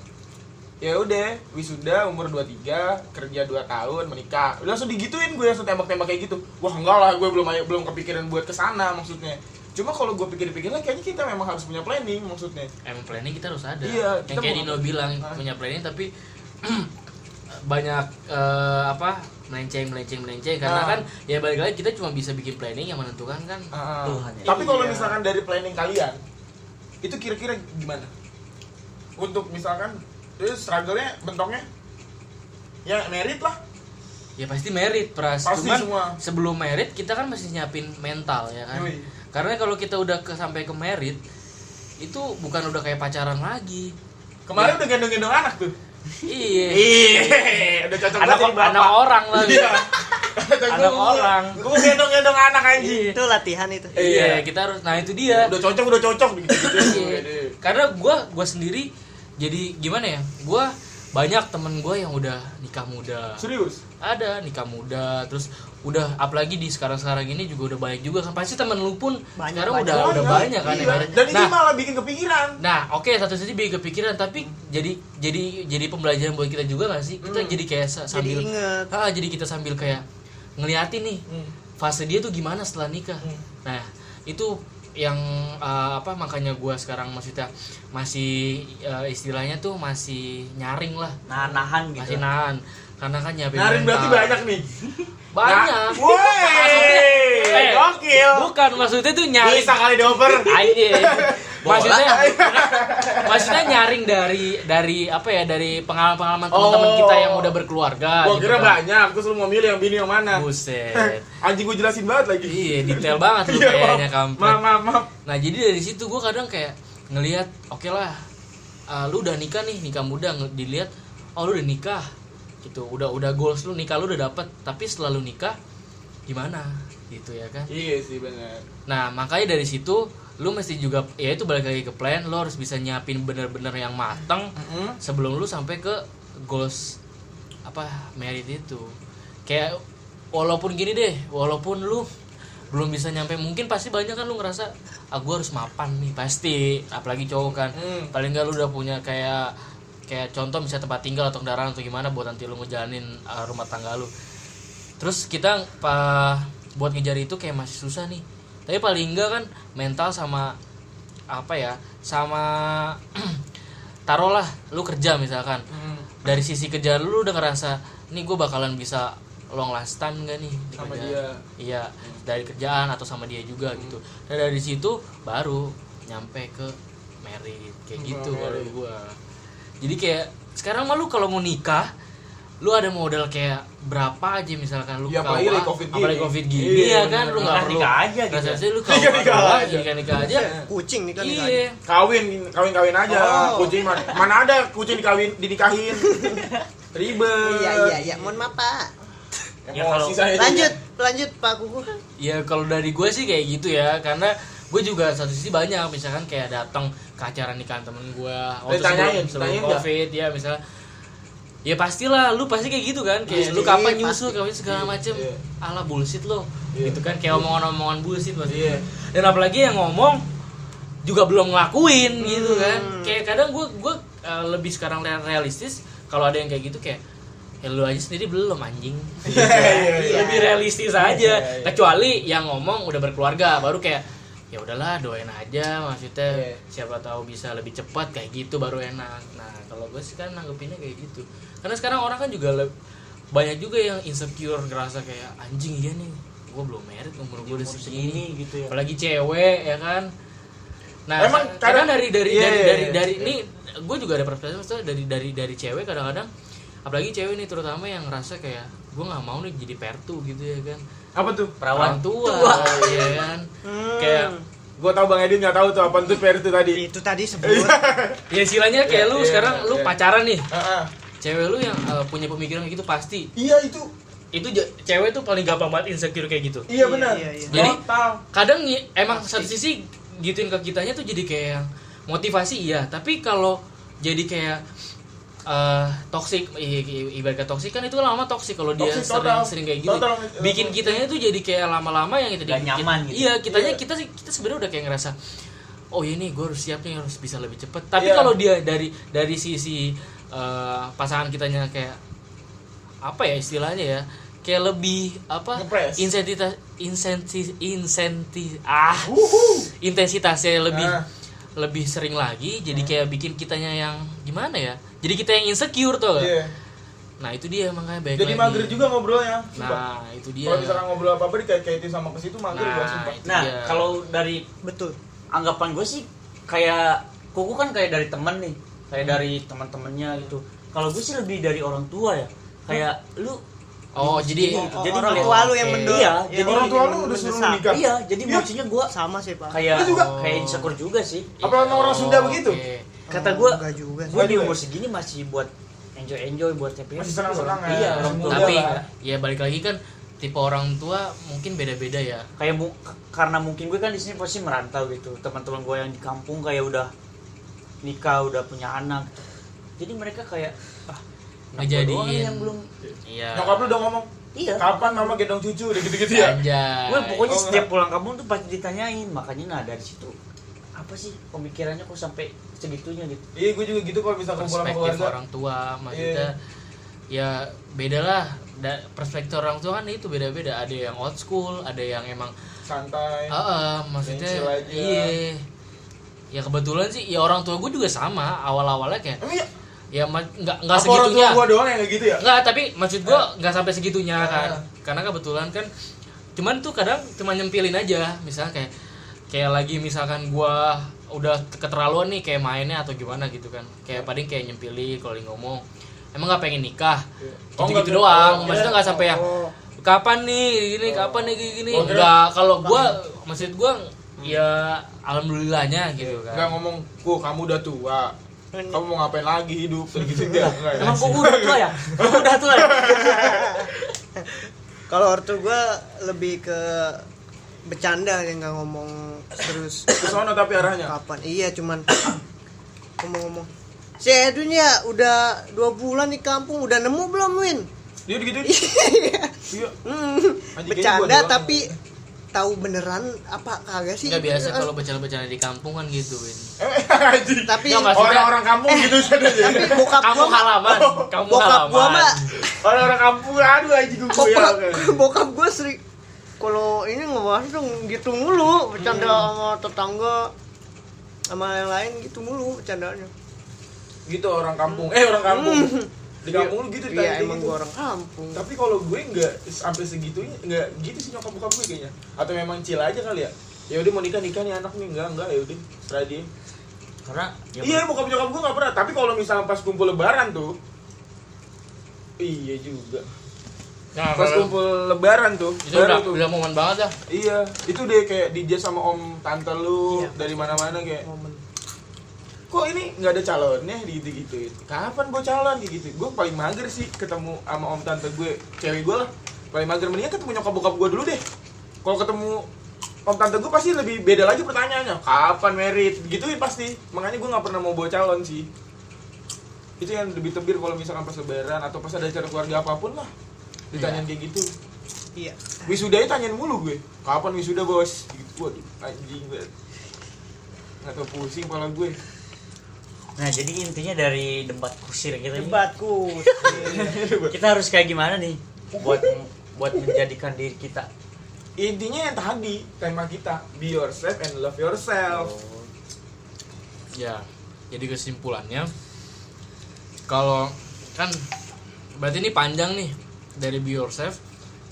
S2: ya udah wisuda umur 23 kerja 2 tahun menikah Udah langsung digituin gue langsung tembak-tembak kayak gitu wah enggak lah gue belum belum kepikiran buat kesana maksudnya cuma kalau gue pikir-pikir lah kayaknya kita memang harus punya planning maksudnya
S3: emang planning kita harus ada
S2: Iya,
S3: yang
S2: kita
S3: kayak
S2: mau-
S3: Dino bilang
S2: Ah.
S3: punya planning tapi <clears throat> banyak eh, apa melenceng melenceng melenceng karena
S2: Ah.
S3: kan ya balik lagi kita cuma bisa bikin planning yang menentukan kan
S2: Ah.
S4: Tuhan, ya.
S2: Tapi kalau
S4: Iya.
S2: misalkan dari planning kalian, itu kira-kira gimana? Untuk misalkan itu struggle-nya bentuknya ya merit lah.
S3: ya pasti merit pras
S2: Pasti
S3: cuman
S2: semua.
S3: sebelum merit kita kan masih nyiapin mental ya kan
S2: Yoi.
S3: karena kalau kita udah ke sampai ke merit itu bukan udah kayak pacaran
S2: <laughs>
S3: lagi
S2: Kemarin
S3: Ya.
S2: udah gendong-gendong anak tuh.
S3: iya
S2: Iya, udah cocok
S3: anak,
S2: banget jadi
S3: anak
S2: bapak.
S3: orang lagi
S2: Iya.
S3: Anak orang.
S2: Gue gendong-gendong anak anjing.
S1: Itu latihan itu.
S3: iya
S2: Iya.
S3: kita harus nah itu dia
S2: Udah cocok, udah cocok gitu.
S3: Iya. karena gua gua sendiri jadi gimana ya gua banyak temen gue yang udah nikah muda
S2: Serius?
S3: ada nikah muda terus udah apalagi di sekarang sekarang ini juga udah banyak juga kan pasti temen lu pun
S1: Banyak,
S3: sekarang
S1: banyak.
S3: udah udah banyak kan
S2: Iya.
S3: ya kan?
S2: Dan ini
S3: nah
S2: malah bikin kepikiran.
S3: nah oke satu sisi bikin kepikiran tapi jadi jadi jadi pembelajaran buat kita juga gak sih
S2: Hmm.
S3: kita jadi kayak sa-
S1: Jadi
S3: sambil
S1: inget.
S3: Ah, jadi kita sambil kayak ngeliatin nih
S2: Hmm.
S3: fase dia tuh gimana setelah nikah. Nah, itu yang eh, apa makanya gua sekarang maksudnya masih eh, istilahnya tuh masih nyaring lah,
S4: Nahan-nahan
S3: masih
S4: gitu.
S3: nahan. Karena kan nyiapin
S2: Narin
S3: mental.
S2: berarti banyak nih.
S3: Banyak.
S2: Nah, Woi,
S3: Eh,
S2: gokil.
S3: Bukan maksudnya tuh nyaring.
S2: Bisa kali dioper.
S3: Anjing. <laughs> Maksudnya <laughs> maksudnya nyaring dari dari apa ya dari pengalaman-pengalaman teman-teman
S2: Oh.
S3: kita yang udah berkeluarga
S2: Gua
S3: gitu
S2: kira
S3: kan.
S2: banyak, terus lu mau milih yang bini yang mana? Eh,
S3: Buset.
S2: Anjing gua jelasin banget lagi. <laughs>
S3: Iya, detail banget lu
S2: Iya,
S3: kayaknya
S2: maaf.
S3: kampret.
S2: Maaf, maaf, maaf.
S3: Nah jadi dari situ gue kadang kayak ngelihat, oke lah, ah, lu udah nikah nih nikah muda nge- dilihat, oh lu udah nikah, gitu, udah udah goals lu nikah lu udah dapet, tapi setelah lu nikah gimana? gitu ya kan
S2: Iya sih benar.
S3: Nah, makanya dari situ lu mesti juga ya itu balik lagi ke plan, lu harus bisa nyiapin bener-bener yang mateng sebelum lu sampai ke goals apa merit itu. Kayak walaupun gini deh, walaupun lu belum bisa nyampe mungkin pasti banyak kan lu ngerasa ah gua harus mapan nih pasti apalagi cowok kan
S2: Hmm.
S3: paling nggak lu udah punya kayak kayak contoh misalnya tempat tinggal atau kendaraan atau gimana buat nanti lu ngejalanin uh, rumah tangga lu terus kita pa, buat ngejar itu kayak masih susah nih tapi paling enggak kan mental sama apa ya sama <clears throat> taruhlah lu kerja misalkan
S2: Hmm,
S3: dari sisi kerja lu lu udah ngerasa nih gue bakalan bisa long last time gak nih di
S2: Sama
S3: kerjaan?"
S2: dia.
S3: iya dari kerjaan atau sama dia juga gitu nah dari situ baru nyampe ke merit kayak
S2: Ke
S3: gitu baru
S2: married.
S3: gua jadi kayak sekarang mah lu kalau mau nikah lu ada modal kayak berapa aja misalkan lu
S2: Ya, apalagi lagi COVID gini.
S3: apalagi covid gini
S2: Iya,
S3: ya kan lu nggak
S4: Nikah-nikah
S3: perlu
S4: aja gitu.
S3: Rasanya
S2: <laughs>
S3: lu
S2: Nikah-nikah
S3: kawa-kawa,
S2: aja.
S3: nikah-nikah aja
S1: kucing nih kan
S3: iya
S2: Kawin, kawin-kawin aja.
S1: Oh.
S2: Kucing mana, mana ada kucing dikawin,
S3: <laughs>
S2: dinikahin. Ribet.
S1: iya iya iya mohon maaf pak
S4: Ya, kalau-
S2: Emosi saya.
S1: lanjut lanjut pak kuku
S3: ya kalau dari gue sih kayak gitu ya karena gue juga satu sisi banyak misalkan kayak datang ke acara nikahan temen gue waktu
S2: ditanyain,
S3: sebelum, sebelum
S2: ditanyain Eh, nggak?
S3: covid ya misalnya ya pastilah lu pasti kayak gitu kan kayak
S1: Pasti,
S3: lu kapan
S1: pasti.
S3: nyusul kapan segala macem
S2: Iya.
S3: ala bullshit lo
S2: Iya.
S3: gitu kan kayak omongan-omongan bullshit pasti
S2: Iya.
S3: dan apalagi yang ngomong juga belum ngelakuin gitu
S2: Hmm.
S3: kan kayak kadang gue gue lebih sekarang re- realistis kalau ada yang kayak gitu kayak ya lu aja sendiri belum anjing
S2: <laughs> Iya, iya, iya.
S3: lebih realistis aja
S2: iya.
S3: kecuali yang ngomong udah berkeluarga baru kayak ya udahlah doain aja maksudnya
S2: Iya.
S3: siapa tahu bisa lebih cepat kayak gitu baru enak nah kalau gue sih kan nanggepinnya kayak gitu karena sekarang orang kan juga le- banyak juga yang insecure ngerasa kayak anjing iya nih gue belum merit umur gue udah
S4: Umur
S3: segini
S4: segini gitu ya.
S3: apalagi cewek ya kan nah
S2: Emang
S3: kadang, kadang
S2: kadang-
S3: dari dari
S2: Iya,
S3: dari
S2: iya,
S3: dari
S2: iya.
S3: dari ini gue juga ada perspektif maksudnya dari dari dari cewek kadang-kadang apalagi cewek nih terutama yang ngerasa kayak gue nggak mau nih jadi pertu gitu ya kan
S2: Apa tuh?
S3: orang
S4: perawan
S3: tua, <laughs> ya kan
S1: Hmm.
S3: kayak
S2: Gua tau Bang Edin nggak tahu tuh apa tuh per itu tadi.
S1: itu tadi sebelum
S3: ya istilahnya
S2: Iya,
S3: kayak lu
S2: iya,
S3: sekarang
S2: iya,
S3: lu
S2: iya.
S3: pacaran nih
S2: Heeh.
S3: cewek lu yang eh, punya pemikiran kayak gitu pasti
S2: Iya itu.
S3: itu je- cewek tuh paling gampang banget insecure kayak gitu
S1: Iya,
S2: Iya benar.
S1: iya, iya.
S3: Jadi-
S2: Total.
S3: kadang nyi- emang satu sisi gituin ke kitanya tuh jadi kayak motivasi iya tapi kalau jadi kayak eh toxic i- i- ibarat kata toxic kan itu lama toxic kalau dia
S2: Toxic,
S3: sering
S2: total.
S3: sering kayak gitu
S2: Total.
S3: bikin kitanya tuh jadi kayak lama-lama yang kita
S4: Nggak nyaman gitu.
S3: iya kitanya
S2: Iya.
S3: kita sih kita sebenarnya udah kayak ngerasa oh iya nih gue harus siap nih harus bisa lebih cepet tapi
S2: Iya.
S3: kalau dia dari dari sisi eh, pasangan kitanya kayak apa ya istilahnya ya kayak lebih apa
S2: Ngepres.
S3: insentitas insentif insenti ah
S2: Wuhu.
S3: intensitasnya lebih
S2: Ah.
S3: lebih sering lagi jadi kayak bikin kitanya yang gimana ya jadi kita yang insecure tuh
S2: Iya.
S3: nah itu dia makanya baik
S2: Jadi
S3: lagi.
S2: mager juga ngobrolnya. Sumpah.
S3: nah itu dia
S2: Kalau misalkan ngobrol apa-apa dikait-kaitin sama ke situ mager
S3: Nah,
S2: gua sumpah.
S3: itu
S4: nah
S3: dia.
S4: kalau dari
S1: betul
S4: anggapan gue sih kayak kuku kan kayak dari temen nih kayak dari teman-temannya gitu kalau gue sih lebih dari orang tua ya kayak lu
S3: oh jadi
S4: Gitu. Jadi
S1: orang
S4: ngeliat-
S1: tua lu yang
S3: Oke.
S1: mendorong
S4: Iya,
S1: yang
S4: jadi-
S2: Orang tua lu udah
S1: mendesak.
S2: suruh nikah.
S4: iya jadi maksudnya gue
S1: sama sih pak
S4: kayak
S2: Lu juga?
S4: kayak insecure juga sih
S2: Apa emang orang Sunda begitu?
S3: oke. Iya,
S4: kata
S1: Oh,
S4: gue
S1: enggak juga sih.
S4: gue di
S2: Gua juga.
S4: umur segini masih buat enjoy enjoy buat happy
S2: Masih
S3: ya,
S2: senang-senangan.
S4: iya orang tua
S2: Semoga
S3: tapi
S4: gua.
S2: Nah, lah.
S3: ya balik lagi kan tipe orang tua mungkin beda-beda ya
S4: kayak mu- k- karena mungkin gue kan di sini pasti merantau gitu teman-teman gue yang di kampung kayak udah nikah udah punya anak jadi mereka kayak ah anak gua
S3: Ngejadiin.
S4: doang nih yang belum
S3: iya
S2: Nyokap lu udah ngomong,
S4: iya
S2: "Kapan mama gendong cucu?" udah gitu-gitu ya.
S3: Anjay.
S4: gue pokoknya
S2: Oh,
S4: setiap pulang kampung tuh pasti ditanyain makanya nah dari situ apa sih pemikirannya kok sampai segitunya gitu
S2: Iya, gue juga gitu kalau misalkan pulang sama
S3: perspektif
S2: keluarga. Iya.
S3: orang tua maksudnya ya beda lah Da- perspektif orang tua kan itu beda-beda ada yang old school ada yang emang
S2: Santai.
S3: ah ah, maksudnya
S2: Iya. Yang chill aja.
S3: iya ya kebetulan sih ya orang tua gue juga sama awal-awalnya kayak
S2: Emang iya,
S3: ya ma- nggak nggak
S2: apa orang tua
S3: segitunya
S2: gua doang yang kayak gitu ya?
S3: Enggak, tapi maksud
S2: Nah.
S3: gua nggak sampai segitunya kan.
S2: Eh.
S3: Karena kebetulan kan cuman tuh kadang cuma nyempilin aja, misalnya kayak kayak lagi misalkan gua udah keterlaluan nih kayak mainnya atau gimana gitu kan.
S2: Iya.
S3: Kayak paling kayak nyempilin kalau lagi ngomong. Emang nggak pengen nikah.
S2: Oh,
S3: gitu-gitu
S2: nggak-
S3: doang.
S2: oh,
S3: Maksudnya nggak sampai yang
S2: oh.
S3: kapan nih gini, kapan nih gini, gini.
S2: Oh, kira-
S3: Nggak, kalau gua maksud gua ya alhamdulillahnya gitu kan.
S2: Enggak ngomong, "Ku, kamu udah tua. Kamu mau ngapain lagi <laughs> hidup?" Kayak gitu enggak. enggak ya.
S4: emang kok udah tua ya Kok udah tua ya
S1: Kalau ortu gue lebih ke bercanda yang nggak ngomong terus
S2: ke sono tapi arahnya
S1: kapan. Iya cuman ngomong-ngomong. Si Edwin ya udah dua bulan di kampung udah nemu belum Win?
S2: dia gitu iya
S1: <laughs> Hmm,
S2: Anjing, kayaknya gua
S1: bercanda
S2: doang.
S1: tapi tahu beneran apa kagak sih?
S3: nggak biasa
S2: Iya.
S1: Eh,
S3: kalau bercanda-bercanda di kampung kan gitu Win
S2: <laughs>
S1: tapi
S3: Nggak, maksudnya-
S2: Eh, orang-orang kampung gitu saja
S1: Eh, tapi bokap
S3: kampung
S1: gua
S3: halaman kampung
S1: bokap
S3: halaman
S1: gua mah
S2: Iya, orang-orang kampung aduh anjing gue
S1: bokap
S2: goyang.
S1: bokap gua sering kalau ini ngebahas dong gitu mulu bercanda sama tetangga sama yang lain gitu mulu bercandanya
S2: gitu orang kampung eh orang kampung
S1: Hmm.
S2: di kampung lu gitu
S1: iya
S2: ditanya
S1: emang
S2: gitu.
S1: gua orang kampung
S2: tapi kalau gue nggak sampai segitunya nggak gitu sih nyokap bokap gue kayaknya atau memang chill aja kali ya ya udah mau nikah nikah nih anak nih enggak enggak ya udah serah dia
S4: karena ya,
S2: iya bokap nyokap gue nggak pernah tapi kalau misalnya pas kumpul lebaran tuh iya juga
S3: nah,
S2: pas
S3: kalau-
S2: kumpul lebaran tuh
S3: itu
S2: baru
S3: udah,
S2: tuh
S3: udah momen banget dah
S2: iya itu deh kayak dija sama om tante lu
S1: Iya.
S2: dari mana-mana kayak
S1: momen
S2: kok ini nggak ada calonnya gitu gitu kapan gue calon gitu gue paling mager sih ketemu sama om tante gue cewek gue lah paling mager mendingan ketemu nyokap bokap gue dulu deh kalau ketemu om tante gue pasti lebih beda lagi pertanyaannya kapan merit gitu pasti makanya gue nggak pernah mau bawa calon sih itu yang lebih tebir kalau misalkan pas lebaran atau pas ada acara keluarga apapun lah ditanyain kayak gitu
S1: iya
S2: wisudanya tanyain mulu gue kapan wisuda bos gitu waduh anjing banget nggak tau pusing kepala gue
S4: nah jadi intinya dari debat kusir kita ini,
S1: debatku
S4: kita harus kayak gimana nih
S2: <laughs>
S4: buat buat menjadikan diri kita
S2: intinya yang tadi tema kita be yourself and love yourself
S3: ya jadi kesimpulannya kalau kan berarti ini panjang nih dari be yourself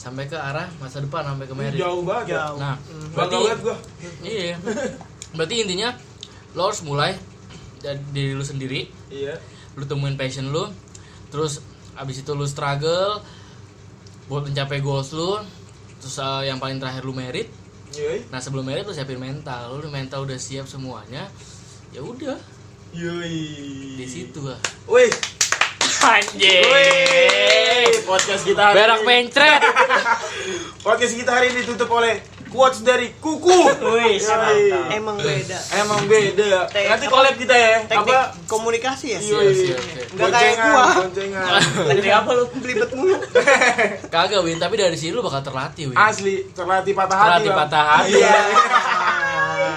S3: sampai ke arah masa depan sampai ke marriage
S2: jauh banget ya
S1: Jauh.
S3: nah
S2: bangga
S3: berarti
S2: banget gue
S3: iya berarti intinya lo harus mulai dari diri lu sendiri
S2: iya
S3: lu temuin passion lu terus abis itu lu struggle buat mencapai goals lu terus eh, yang paling terakhir lu merit
S2: yoi
S3: nah sebelum merit lu siapin mental lu mental udah siap semuanya ya udah
S2: yoi Iya.
S3: di situ lah
S2: wih
S3: anjing
S2: wih podcast kita hari
S3: berak
S2: ini
S3: mencret
S2: podcast kita hari ini ditutup oleh quotes dari kuku Yoi.
S4: Wih, mantap.
S1: <laughs> emang beda
S2: emang beda
S1: Te-
S2: nanti collab kita ya
S1: teknik
S2: apa
S1: komunikasi ya
S3: Iya.
S2: yoi
S3: Siap, siap.
S1: Nggak kayak
S2: Boncengan,
S1: gua.
S2: boncengan
S4: Jadi apa lu?
S1: belibet mulu
S3: <laughs> kagak win tapi dari sini lu bakal terlatih win
S2: asli terlatih patah hati
S3: terlatih
S2: Bang.
S3: patah hati
S2: iya <laughs>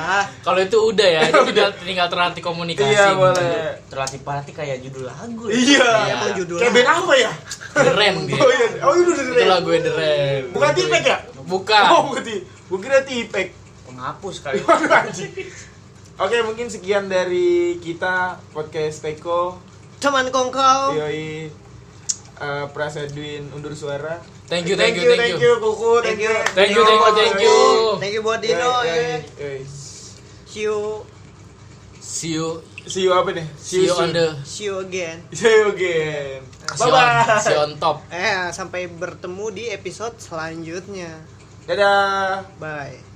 S1: Ah,
S3: kalau itu udah ya itu tinggal, tinggal terlatih komunikasi
S2: iya boleh
S4: Terlatih parati kayak judul lagu ya.
S2: iya
S1: emang judul
S2: kayak band apa ya
S3: keren dia
S2: oh iya oh itu
S3: itu lagu The Rem.
S2: bukan tipek ya
S3: bukan
S2: Oh, bukan ti- Gue kira tipek.
S4: Penghapus kali.
S2: Waduh, anjing. Oke, mungkin sekian dari kita podcast Teko.
S1: teman
S3: Oh.
S2: Iya.
S1: kongkong
S2: Yoi. eh Prasedwin undur suara.
S3: thank you thank you thank you
S2: Kuku, thank you. Iya,
S3: Thank you, thank you, thank you.
S1: thank you buat
S2: Yoi,
S1: Dino
S2: yoi,
S1: ya.
S2: yoi.
S1: see you
S3: see you
S2: See you apa nih?
S3: see you
S2: soon.
S3: on the
S1: see you again
S2: See you again.
S3: see
S2: Bye
S3: on, see
S2: bye.
S3: on top
S1: eh sampai bertemu di episode selanjutnya
S2: Dadah.
S1: bye